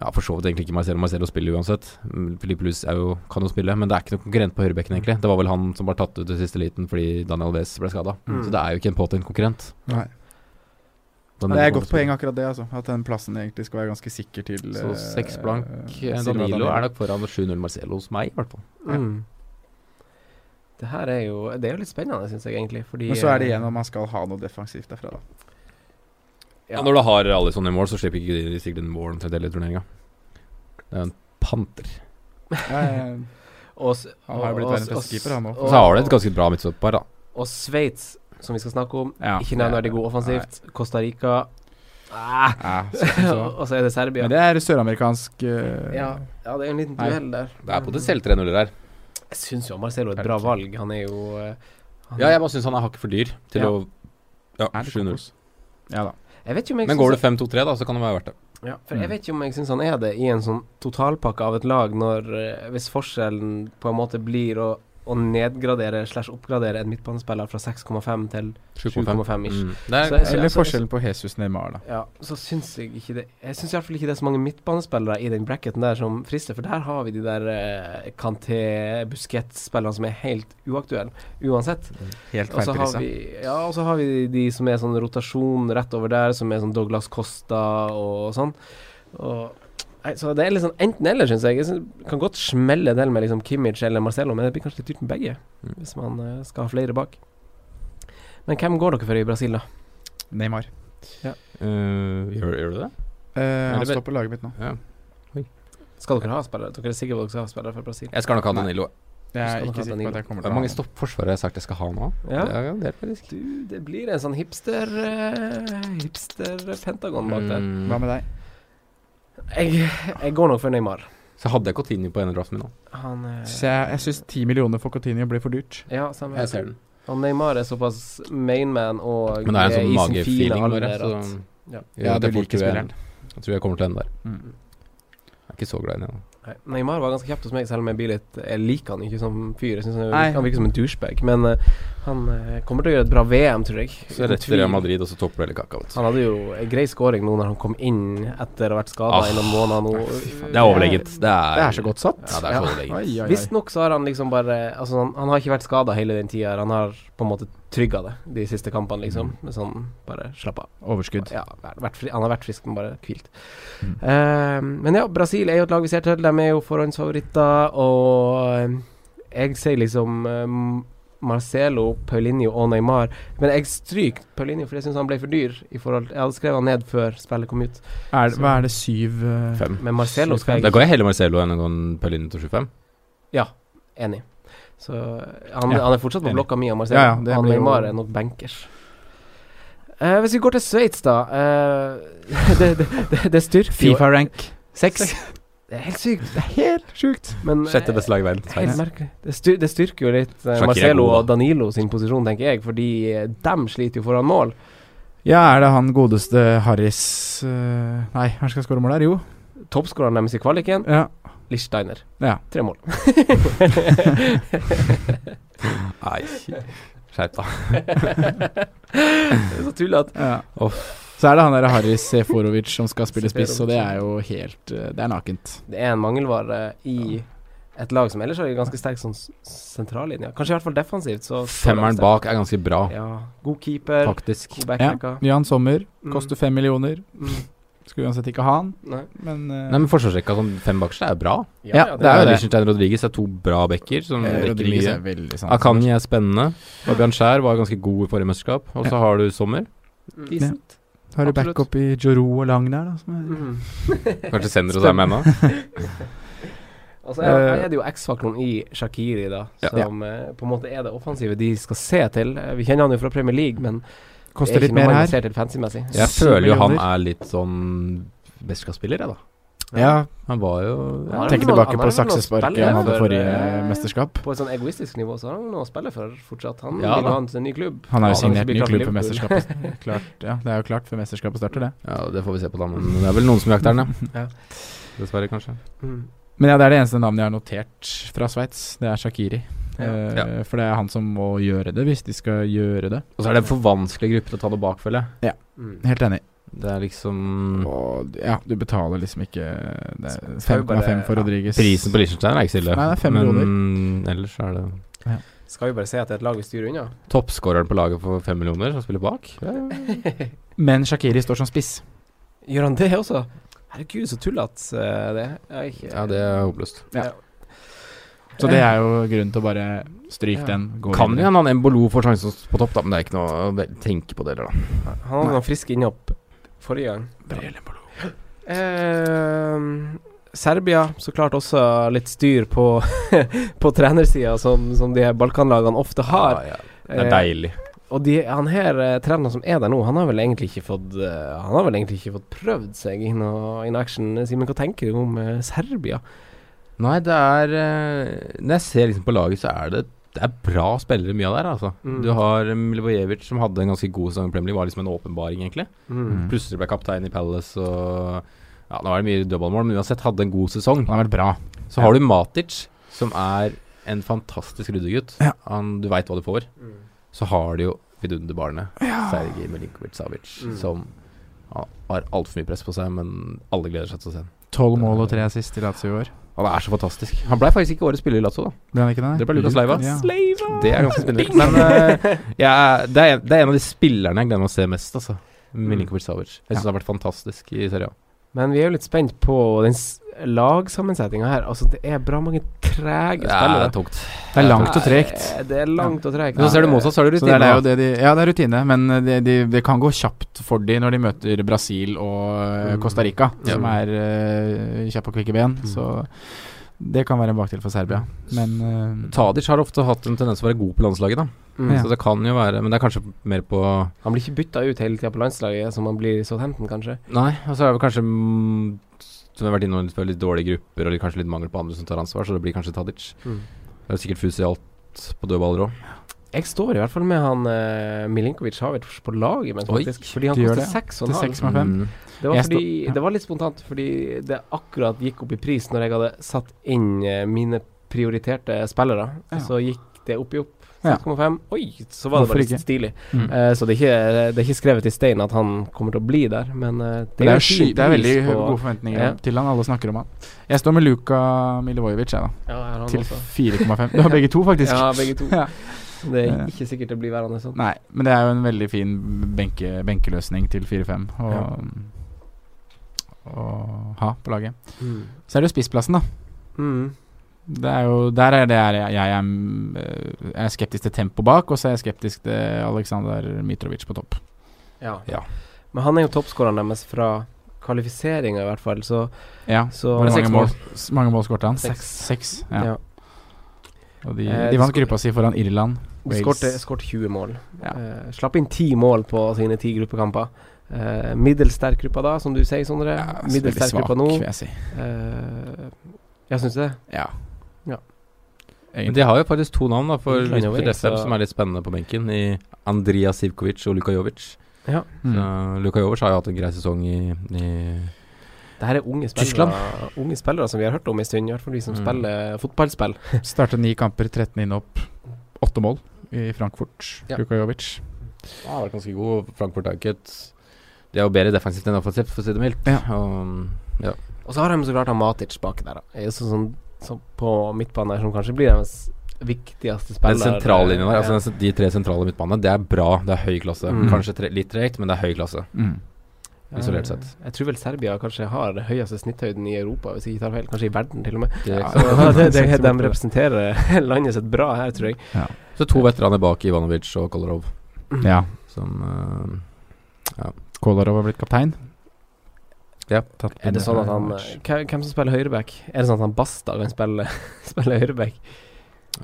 Ja, for så vidt egentlig ikke Marcelo. Marcelo spiller uansett. Mm, Filipe Luz er jo, kan jo spille, men det er ikke noe konkurrent på høyrebekken, egentlig. Det var vel han som var tatt ut i siste liten fordi Daniel Wes ble skada. Mm. Så det er jo ikke en påtent konkurrent. Nei. Danilo Det er kommer et godt til å poeng, akkurat det. Altså. At den plassen egentlig skal være ganske sikker til spille. Så seks blank. øh, Eh, Silva Danilo er nok foran 7-0 Marcelo hos meg, i hvert fall. Mm. Det her er jo, det er jo litt spennende, syns jeg egentlig. Fordi, eh, Men så er det igjen om man skal ha noe defensivt derfra, da. Ja. Når du har Alison i mål, så slipper ikke de Sigrid inn mål omtrent hele turneringa. Det er en panter. Og s- Han har jo blitt og- verdens og- beste keeper, han nå. Så har du et ganske bra midtstopper, da. Og Sveits, som vi skal snakke om, Ja. ikke nevneverdig god offensivt. Costa Rica <laughs> ah. så- så. Og så er det Serbia. Men det er søramerikansk eh, ja, ja, det er en liten Nei. duell der. Det er potensielt 3-0 her. Jeg syns jo Marcelo er et bra valg. Han er jo eh, han- Ja, jeg bare syns han er hakket for dyr til Ja. å Ja, 7-0. Ja da. Jeg vet ikke om jeg Men synes går det at- 5-2-3, da, så kan det være verdt det. Ja, for jeg vet ikke om jeg syns han er det i en sånn totalpakke av et lag, når eh, hvis forskjellen på en måte blir å, å nedgradere slash oppgradere en midtbanespiller fra 6,5 til 7,5 ish. Mm. Det er- Så jeg- så- Eller så- forskjellen på Jesus Neymar, da. Ja, så syns jeg ikke det Jeg syns iallfall ikke det er så mange midtbanespillere i den bracketen der som frister, for der har vi de der eh, Kanté, Busquets-spillerne som er helt uaktuelle uansett. Helt Og så har feilprisa. vi- Ja, og så har vi de som er sånn rotasjon rett over der, som er sånn Douglas Costa og sånn. Og Nei, så det er litt sånn enten-eller, syns jeg. jeg synes, kan godt smelle til med liksom Kimmich eller Marcello, men det blir kanskje litt dyrt med begge, Mm. hvis man eh, skal ha flere bak. Men hvem går dere for i Brasil, da? Neymar. Eh, gjør, gjør du det? Eh, han det vet- står på laget mitt nå. Ja. Skal dere ha spillere? Dere er sikre på at dere skal ha spillere fra Brasil? Jeg skal nok ha Nei. Danilo. Jeg Skal du er ha ikke sikker på Danilo? at jeg Hvor kommer til å ha mange han. stoppforsvarere har jeg sagt jeg skal ha nå? Ja. Det er en del, faktisk. Du, det blir en sånn hipster eh, hipster-pentagon bak der. Mm. Hva med deg? Jeg, jeg går nok for Neymar. Så hadde jeg Coutinho på ene draften min nå. Han eh, Så jeg jeg syns ti millioner for Coutinho blir for dyrt. Ja, samme. Jeg ser den. Og Neymar er såpass mainman og Men det er en eh, sånn i sin fine magefeeling bare. alder Så at- ja. gjør Ja, at du jeg fort liker tror jeg- spilleren. Jeg tror jeg kommer til den der. Mm. Jeg er ikke så glad i den. da. Nei, Neymar var ganske kjapt hos meg, selv om jeg blir litt Jeg liker han ikke som fyr. Jeg synes han, Nei. virker, han virker som en douchebag. Men eh, han eh, kommer til å gjøre et bra VM, tror jeg. Så Uten rett til tvil. Real Madrid, og så topper du hele kaka. Vet. du. Han hadde jo en grei scoring nå når han kom inn etter å ha vært skada Ah, i noen måneder nå. Det er overlegent. Det er, Det er så godt satt. Ja, det er så overlegent. Oi, oi, oi. Visstnok så har han liksom bare Altså, han, han har ikke vært skada hele den tida. Han har på en måte trygga det de siste kampene, liksom. Mm. Med sånn bare slapp av. Overskudd. Ja, vært fri, han har vært frisk, men bare hvilt. Mm. Eh, men ja, Brasil er jo et lag vi ser til. De er jo forhåndsfavoritter, og eh, jeg sier liksom eh, Marcelo, Paulinho og Neymar. Men jeg stryker Paulinho, for jeg syns han ble for dyr. I forhold, jeg hadde skrevet han ned før spillet kom ut. Er, det- hva er det, syv eh, Fem. Men Marcelo skal Da jeg går jeg heller Marcelo enn å gå en Pauline til 25. Ja, enig. Så han, Ja, han er fortsatt på enig. blokka mi, og Marcelo. Ja, ja, det han blir jo- Neymar er nok bankers. Eh, hvis vi går til Sveits, da. eh, <laughs> det, det, det, det styrker jo- Fifa-rank? Seks. Det er helt sykt. Det er helt sjukt. Men, Sjette beste lag i verden. eh, Helt merkelig. Det, styr, det styrker jo litt eh, Shakira Marcelo god, og Danilo sin posisjon, tenker jeg, fordi eh, dem sliter jo foran mål. Ja, er det han godeste Harris eh, Nei, han skal skåre mål der, jo. Toppskåreren deres i kvaliken, Ja. Lichsteiner. Ja. Tre <laughs> mål. Nei, skjerp deg. Det er så tullete. ja. Så er det han der Harris Seforovic som skal spille spiss, og Seferovic, det ja. er jo helt eh, Det er nakent. Det er en mangelvare i et lag som ellers har en ganske sterk sånn s- sentrallinje. Kanskje i hvert fall defensivt. Så Femmeren bak er ganske bra, Ja. God keeper. faktisk. God Ja. backpacker. Jan Sommer Mm. koster fem millioner. Mm. Skulle uansett ikke ha han, Nei. men eh, Nei, men Forsvarsrekka sånn fem bakerste er bra. Ja, det er jo det. Liechtenstein Rodriguez er to bra backer som eh, rekker Rodriguez mye. er veldig sant. Akanji er spennende. Fabian Skjær var ganske god i forrige mesterskap. Og så har du Sommer. Decent. Har du absolutt. backup i Joro og Lang der, da? Som er, Mm. Kanskje Sender og med ennå. Og så Altså, Eh, er, er det jo X-faktoren i Shakiri, da, som eh, på en måte er det offensive de skal se til. Eh, Vi kjenner han jo fra Premier League, men det koster er litt ikke noe mer man her. ser til fancy-messig. Jeg Syv føler jo han millioner. er litt sånn mesterskapsspiller, jeg, da. Ja, Han var jo Ja, han Tenker har vel tilbake noe- han har vel på noe å saksesparket spille han hadde for, forrige eh, mesterskap. På et sånn egoistisk nivå så har han noe å spille for fortsatt. Han Ja, vil da. ha en en ny klubb. Han har jo Ja, han signert blir ny klart klubb før Liverpool. mesterskapet klart, ja, Det er jo klart før mesterskapet starter, det. Ja, det får vi se på, da. Men det er vel noen som jakter den, ja. Ja. Dessverre, kanskje. Mm. Men ja, det er det eneste navnet jeg har notert fra Sveits. Det er Shakiri. Ja. Eh, Ja. For det er han som må gjøre det, hvis de skal gjøre det. Og så er det en for vanskelig gruppe til å ta noe bak, føler jeg. Mm. Helt enig. Det er liksom Og ja, du betaler liksom ikke det er Skal jo bare- 5,5 for ja. Rodriguez. Prisen på Liechtenstein er ikke så ille. Nei, det er fem Men ellers er det Skal jo bare se at det er et lag vi styrer unna. toppskåreren på laget for fem millioner som spiller bak. Men Shakiri står som spiss. Gjør han det også? Herregud, så tullete eh, det er. Jeg er. ikke- Ja, det er håpløst. Ja. Så det er jo grunn til å bare stryke den. Gå Kan jo videre. hende han Embolo får sjansen på topp, da, men det er ikke noe å vel- tenke på det heller, da. Han hadde noen friske innhopp forrige gang. Eh, Serbia så klart også litt styr på, <laughs> på trenersida, som, som de her balkanlagene ofte har. Eh, Ja, ja. Det er deilig. og de, han her eh, treneren som er der nå, han har vel egentlig ikke fått eh, Han har vel egentlig ikke fått prøvd seg in, in action. Simen, hva tenker du om eh, Serbia? Nei, det er eh, Når jeg ser liksom på laget, så er det Det er bra spillere mye av det her, altså. Mm. Du har eh, Milivojevic, som hadde en ganske god sesong i Premier League, var liksom en åpenbaring, egentlig. Mm. Plutselig ble kaptein i Palace og Ja, nå er det mye dødballmål, men uansett hadde en god sesong. Han har vært bra. Så har du Matic, som er en fantastisk ryddegutt. Han, du veit hva du får. Så har du jo vidunderbarnet Sergej Milinkovic Savic, Mm. som ja, har altfor mye press på seg, men alle gleder seg til å se ham. Tolv mål og tre assist i Lazio i år. Han er så fantastisk. Han ble faktisk ikke årets spiller i Lazio, da. Ble han ikke det? Det ble Lukas Leiva. Ja. Det er ganske spennende. Men eh, jeg er- det, er, det er en av de spillerne jeg gleder meg å se mest, altså. Milinkovic Savic. Jeg syns han har vært fantastisk i Serie A. Men vi er jo litt spent på den s- lagsammensetninga her. Altså, det er bra mange trege Ja, spillere. det er tungt. Det er langt og tregt. Eh, Det er langt og tregt. Men så ser du motsatt, så er det Så det er, det er jo rutine. da. det de, ja, det er rutine, men eh, det de, det kan gå kjapt for de når de møter Brasil og eh, Mm. Costa Rica, Ja. som er eh, kjappe og kvikke ben. Så det kan være en bakdel for Serbia. Men eh, Tadic har ofte hatt en tendens til å være god på landslaget, da. Mm. Ja. Så det kan jo være Men det er kanskje mer på Han blir ikke bytta ut hele tida på landslaget, som han blir i Southampton, kanskje. Nei, og så er det vel kanskje mm, Som vi har vært innom, litt, litt dårlige grupper og litt, kanskje litt mangel på andre som tar ansvar, så det blir kanskje Tadic. Mm. Det er sikkert fus i alt på dødballer òg. Jeg står i hvert fall med han eh, Milinkovic Havic på laget, men Oi, faktisk. Fordi han du gjør koster det, ja. seks og til en halv. 6,5. Mm. Det var, Jeg fordi, står- ja. det var litt spontant, fordi det akkurat gikk opp i pris når jeg hadde satt inn eh, mine prioriterte spillere. Ja. Så gikk det opp i opp. Ja. 6,5. Oi, så var Hvorfor det ikke? bare stilig. Mm. Eh, så det er, ikke, det er ikke skrevet i stein at han kommer til å bli der, men eh, Det er, en jo sky, fin det er pris veldig på- gode forventninger Ja. til han. Alle snakker om han. Jeg står med Luka Milivojevic, jeg, da. Ja, jeg har han Til også. 4,5. Du har begge to, faktisk. Ja, begge to. <laughs> Ja. Det Ja. er ikke sikkert det blir værende sånn. Nei, men det er jo en veldig fin benke, benkeløsning til 4-5 å å ha på laget. Mm. Så er det jo spissplassen, da. Mm. Det er jo, der er det jeg, jeg, jeg er, mm, eh, jeg er skeptisk til tempo bak, og så er jeg skeptisk til Aleksandr Mitrovic på topp. Ja. Ja. Men han er jo toppskåreren deres fra kvalifiseringa, i hvert fall, så, Ja, så Hvor mange Seks mål, s- mange mål skårte han? Seks. Seks ja. Ja. Og de, Eh, de vant skår- gruppa si foran Irland. De Wales. skårte skårte 20 mål. Ja. Eh, slapp inn 10 mål på sine 10 gruppekamper. Eh, middels sterk gruppa da, som du sier, Sondre. Ja, altså, så middels veldig sterk svak, gruppa nå. vil jeg si. Eh, jeg syns det. Ja. Ja. Men de har jo faktisk to navn da for Milan Jovic, midtfelt SF så- som er litt spennende på benken, i Andrija Sivkovic og Luka Jovic. Ja. Mm. Så Luka Jovic har jo hatt en grei sesong i, i Det her er unge Tyskland. spillere, unge spillere som vi har hørt om en stund, i hvert fall de som Mm. spiller fotballspill. Startet ni kamper, 13 innhopp, åtte mål i Frankfurt. Ja. Luka Jovic. Ja, har vært ganske god. Frankfurt har ikke et De er jo bedre defensivt enn offensivt, for å si det mildt. Ja. Og, mm, ja. Og så har de så klart han Matic bak der, da. Er jo Sånn, sånn, sånn på midtbanen her, som kanskje blir deres viktigste spiller. eh, Den sentrallinjen der, altså Ja. den sen- de tre sentrale midtbanene, det er bra. Det er høy klasse. Mm. Kanskje tre, litt tregt, men det er høy klasse. Mm. isolert Ja, Eh, sett. Jeg tror vel Serbia kanskje har den høyeste snitthøyden i Europa, hvis jeg ikke tar feil. Kanskje i verden, til og med. Det, Så det, det, Seks de mot- representerer <laughs> landet sitt bra her, tror jeg. Så to veteraner bak Ivanovic og Kolarov, Ja. som eh, Kolarov har blitt kaptein. Ja. Tatt Er det bilder sånn fra at han match. Hvem hvem som spiller høyreback? Er det sånn at han Basta kan spille, <laughs> spille høyreback?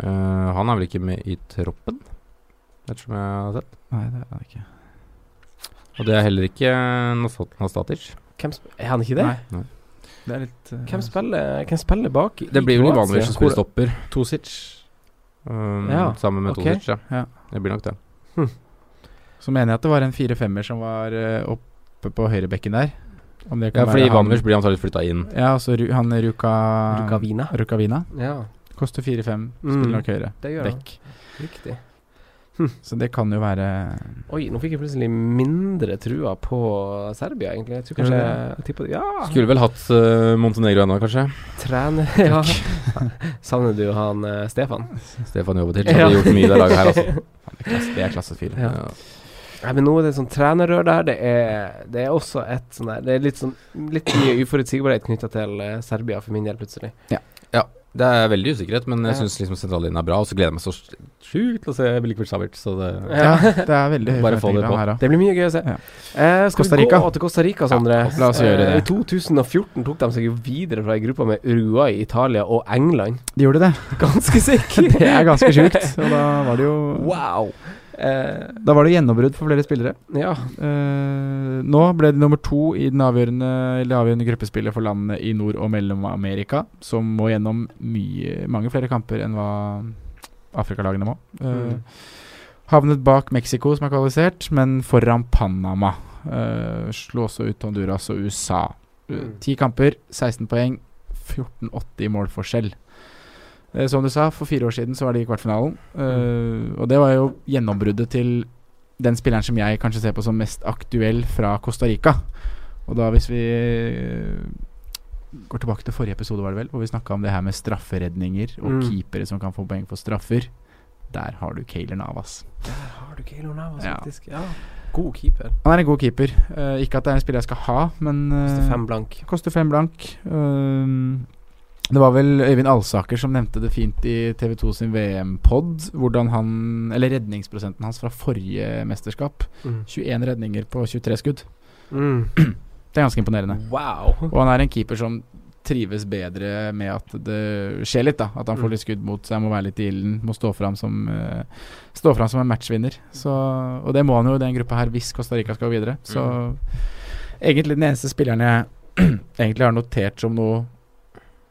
eh, Han er vel ikke med i troppen, ettersom jeg har sett. Nei, det er han ikke. Og det er heller ikke Nasat- Nastatic. Hvem sp er han ikke det? Nei. Nei. Det er litt eh, Hvem spiller, hvem spiller bak? i Det blir vel Kroatia? Ivanovic som Hvor- spiller stopper. Tosic. Um, Ja, Sammen med ok. Tosic, ja. Ja. Det blir nok det. Så mener jeg at det var en fire-femmer som var eh, oppe på høyrebekken der. Om det Ja, kan fordi være han- Ivanovic blir antakelig flytta inn. Ja, og så Ru- han Ruka sånn. Rukavina. Rukavina. Ja, Koster fire-fem, Mm. spiller nok høyre. det gjør han. Dekk. Riktig. Så det kan jo være Oi, nå fikk jeg plutselig mindre trua på Serbia, egentlig. Jeg tror Gjør kanskje du det? jeg tipper, Ja! Skulle vel hatt eh, Montenegro ennå, kanskje. Trener <laughs> Ja. Savner du han eh, Stefan? Stefan jobber til. Så hadde gjort mye i det laget <laughs> her, altså. Det er klasse fire. Ja. Nei, men nå er det sånn trenerrør der. Det er, det er også et sånn der Det er litt sånn Litt mye uforutsigbarhet knytta til eh, Serbia, for min del, plutselig. Ja. Det er veldig usikkerhet, men jeg Ja. syns liksom sentrallinjen er bra. Og så gleder jeg meg så sjukt til å se Likevel Savic, så det Ja, det er veldig høye Bare få det forventninger på. her, da. Det blir mye gøy å se. Eh, skal Costa vi Rica. gå til Costa Rica, Sondre? Ja, la oss gjøre det. Eh, I 2014 tok de seg jo videre fra ei gruppe med Uruguay, Italia og England. <laughs> De gjorde <laughs> det. Ganske sikker. <laughs> Det er ganske sjukt. Og da var det jo Wow. Eh, Da var det gjennombrudd for flere spillere. ja. Eh, nå ble det nummer to i den avgjørende, eller det avgjørende gruppespillet for landene i Nord- og Mellom-Amerika, som må gjennom mye, mange flere kamper enn hva Afrikalagene må. Eh, Mm. Havnet bak Mexico, som er kvalifisert, men foran Panama. Eh, slo også ut Honduras og USA. Eh, Mm. Ti kamper, 16 poeng, 14-8 i målforskjell. Eh, som du sa, for fire år siden så var de i kvartfinalen. Eh, Mm. og det var jo gjennombruddet til den spilleren som jeg kanskje ser på som mest aktuell fra Costa Rica. Og da hvis vi eh, går tilbake til forrige episode, var det vel, hvor vi snakka om det her med strafferedninger og Mm. keepere som kan få poeng for straffer. Der har du Kayler Navas. Har du Keylor Navas, Ja. faktisk? Ja. God keeper. Han er en god keeper. Eh, ikke at det er en spiller jeg skal ha, men eh, Koster fem blank. koster fem blank. Ehm, det var vel Øyvind Alsaker som nevnte det fint i TV2 sin VM-pod, hvordan han Eller redningsprosenten hans fra forrige mesterskap. Mm. 21 redninger på 23 skudd. Mm. Det er ganske imponerende. Wow. Og han er en keeper som trives bedre med at det skjer litt, da. At han får litt skudd mot seg, må være litt i ilden, må stå fram som eh, Stå fram som en matchvinner. Så, og det må han jo i den gruppa her hvis Costa Rica skal videre. Så egentlig den eneste spilleren jeg <clears throat> egentlig har notert som noe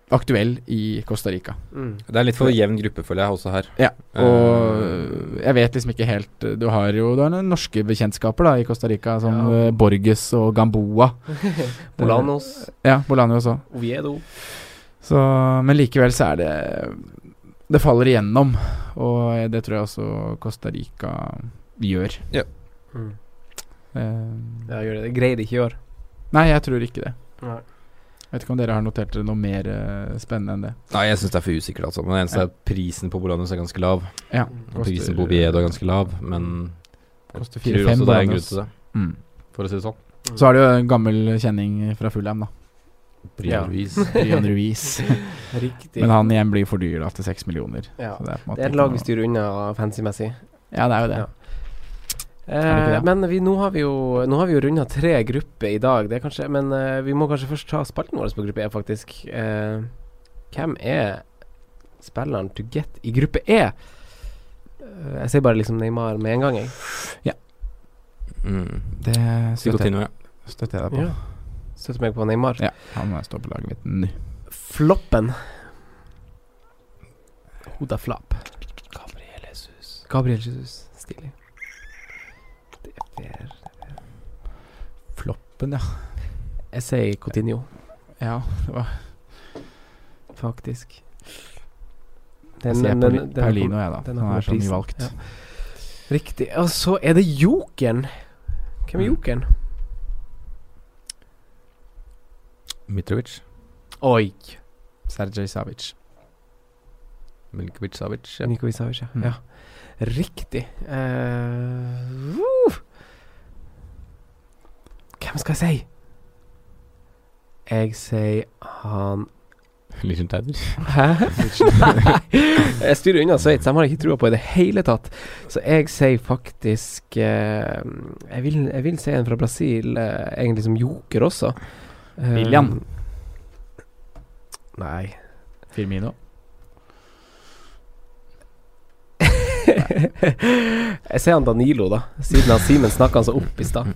aktuell i Costa Rica. Mm. Det er litt for jevn gruppe, føler jeg, også her. Ja, og jeg vet liksom ikke helt Du har jo du har noen norske bekjentskaper da i Costa Rica, som eh, Borges og Gamboa. Bolanos, Ja, Bolano også. Oviedo. Så, men likevel så er det Det faller igjennom, og det tror jeg også Costa Rica gjør. Mm. Eh, Ja, gjør det. Det greide ikke i år. nei, jeg tror ikke det. Nei. Vet ikke om dere har notert dere noe mer eh, spennende enn det. Nei, jeg syns det er for usikkert, altså. Men det eneste Ja. er prisen på Bolanos er ganske lav. Ja, Og prisen på Biedo er ganske lav, men jeg Koster tror 4-5 også det er en grunn Bolanos. til det, Mm. for å si det sånn. Så er det jo en gammel kjenning fra Fulham, da. Brian Ja. Ruiz. <laughs> Brian Ruiz. Riktig. Men han igjen blir for dyr, da, til seks millioner. ja. Så det er på en måte Det er et ikke lag vi noe- styrer unna fancy-messig. Ja, det er jo det. Ja. det ikke Eh, det? men vi, nå har vi jo Nå har vi jo runda tre grupper i dag, det er kanskje, men eh, vi må kanskje først ta spalten vår på gruppe E, faktisk. Eh, hvem er spilleren to get i gruppe E? Eh, jeg sier bare liksom Neymar med en gang, jeg. Mm. Det Skal støtter, Coutinho, ja. jeg- støtter jeg deg på. Ja. Støtter meg på Neymar. Ja, han må stå på laget mitt nå. Floppen. Hoda flap. Gabriel Jesus. Gabriel Jesus. Stilig. Det er fair. Floppen, ja. Jeg sier Coutinho Ja, det var faktisk. Jeg ser Pauli- Paulino, jeg, da. den Han kommer er så mye prisen. valgt. Ja. Riktig. Og så er det jokeren. Hvem er Mm. jokeren? Mitrovic. Oi. Sergej Savic. Milinkovic Savic. Ja. Niko Isavic, ja. Mm. ja. Riktig. Eh, uh. Hvem skal jeg si? Jeg sier han Liten Teider. Hæ? Nei. <laughs> Jeg styrer unna Sveits, dem har jeg ikke trua på i det hele tatt. Så jeg sier faktisk eh, jeg, vil, jeg vil si en fra Brasil, eh, egentlig som joker også. Eh, William. Nei. Firmino. jeg sier han Danilo, da, siden han Simen snakka han så opp i stad.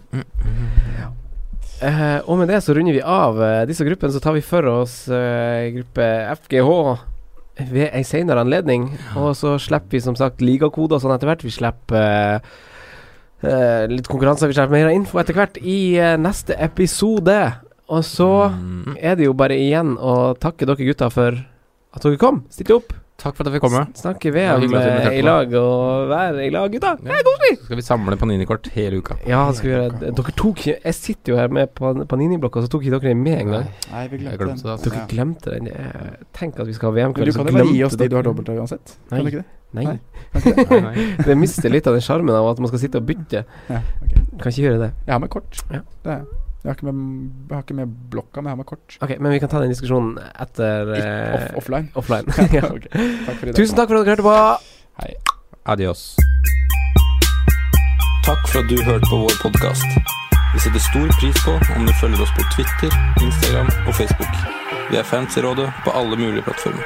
Eh, og med det så runder vi av eh, disse gruppene, så tar vi for oss eh, gruppe FGH ved ei senere anledning. Og så slipper vi som sagt ligakoder og sånn etter hvert. Vi slipper eh, eh, litt konkurranser, vi slipper mer info etter hvert i eh, neste episode. Og så Mm. er det jo bare igjen å takke dere gutter for at dere kom. Stilte opp. Takk for at jeg fikk komme. S- Snakke var VM hyggelig at vi ble eh, tatt i på. lag og være i lag, gutta. Så skal vi samle Panini-kort hele uka. Ja, skal vi gjøre det. Dere tok ikke- Jeg sitter jo her med pan- Panini-blokka, så tok ikke dere den med en gang. Nei, vi Jeg glemte det. Altså. Dere glemte den. Jeg- Tenk at vi skal ha Men VM-kveld, du så kan jo bare gi glemte oss de du dere- har dobbelt av uansett. Kan du Nei. ikke det? <laughs> Nei. Nei, nei. Det mister litt av den sjarmen av at man skal sitte og bytte. Ja, ok. Kan ikke gjøre det. Jeg har med kort. Ja. Det er jeg. Jeg har ikke med, jeg har ikke med blokka, men jeg har med kort. Ok, Men vi kan ta den diskusjonen etter eh, Off offline. <laughs> offline. Ja, <laughs> ja. ok. Takk for i dag. Tusen takk for at dere hørte på. Hei. Adios. Takk for at du hørte på vår podkast. Vi setter stor pris på om du følger oss på Twitter, Instagram og Facebook. Vi er fans i rådet på alle mulige plattformer.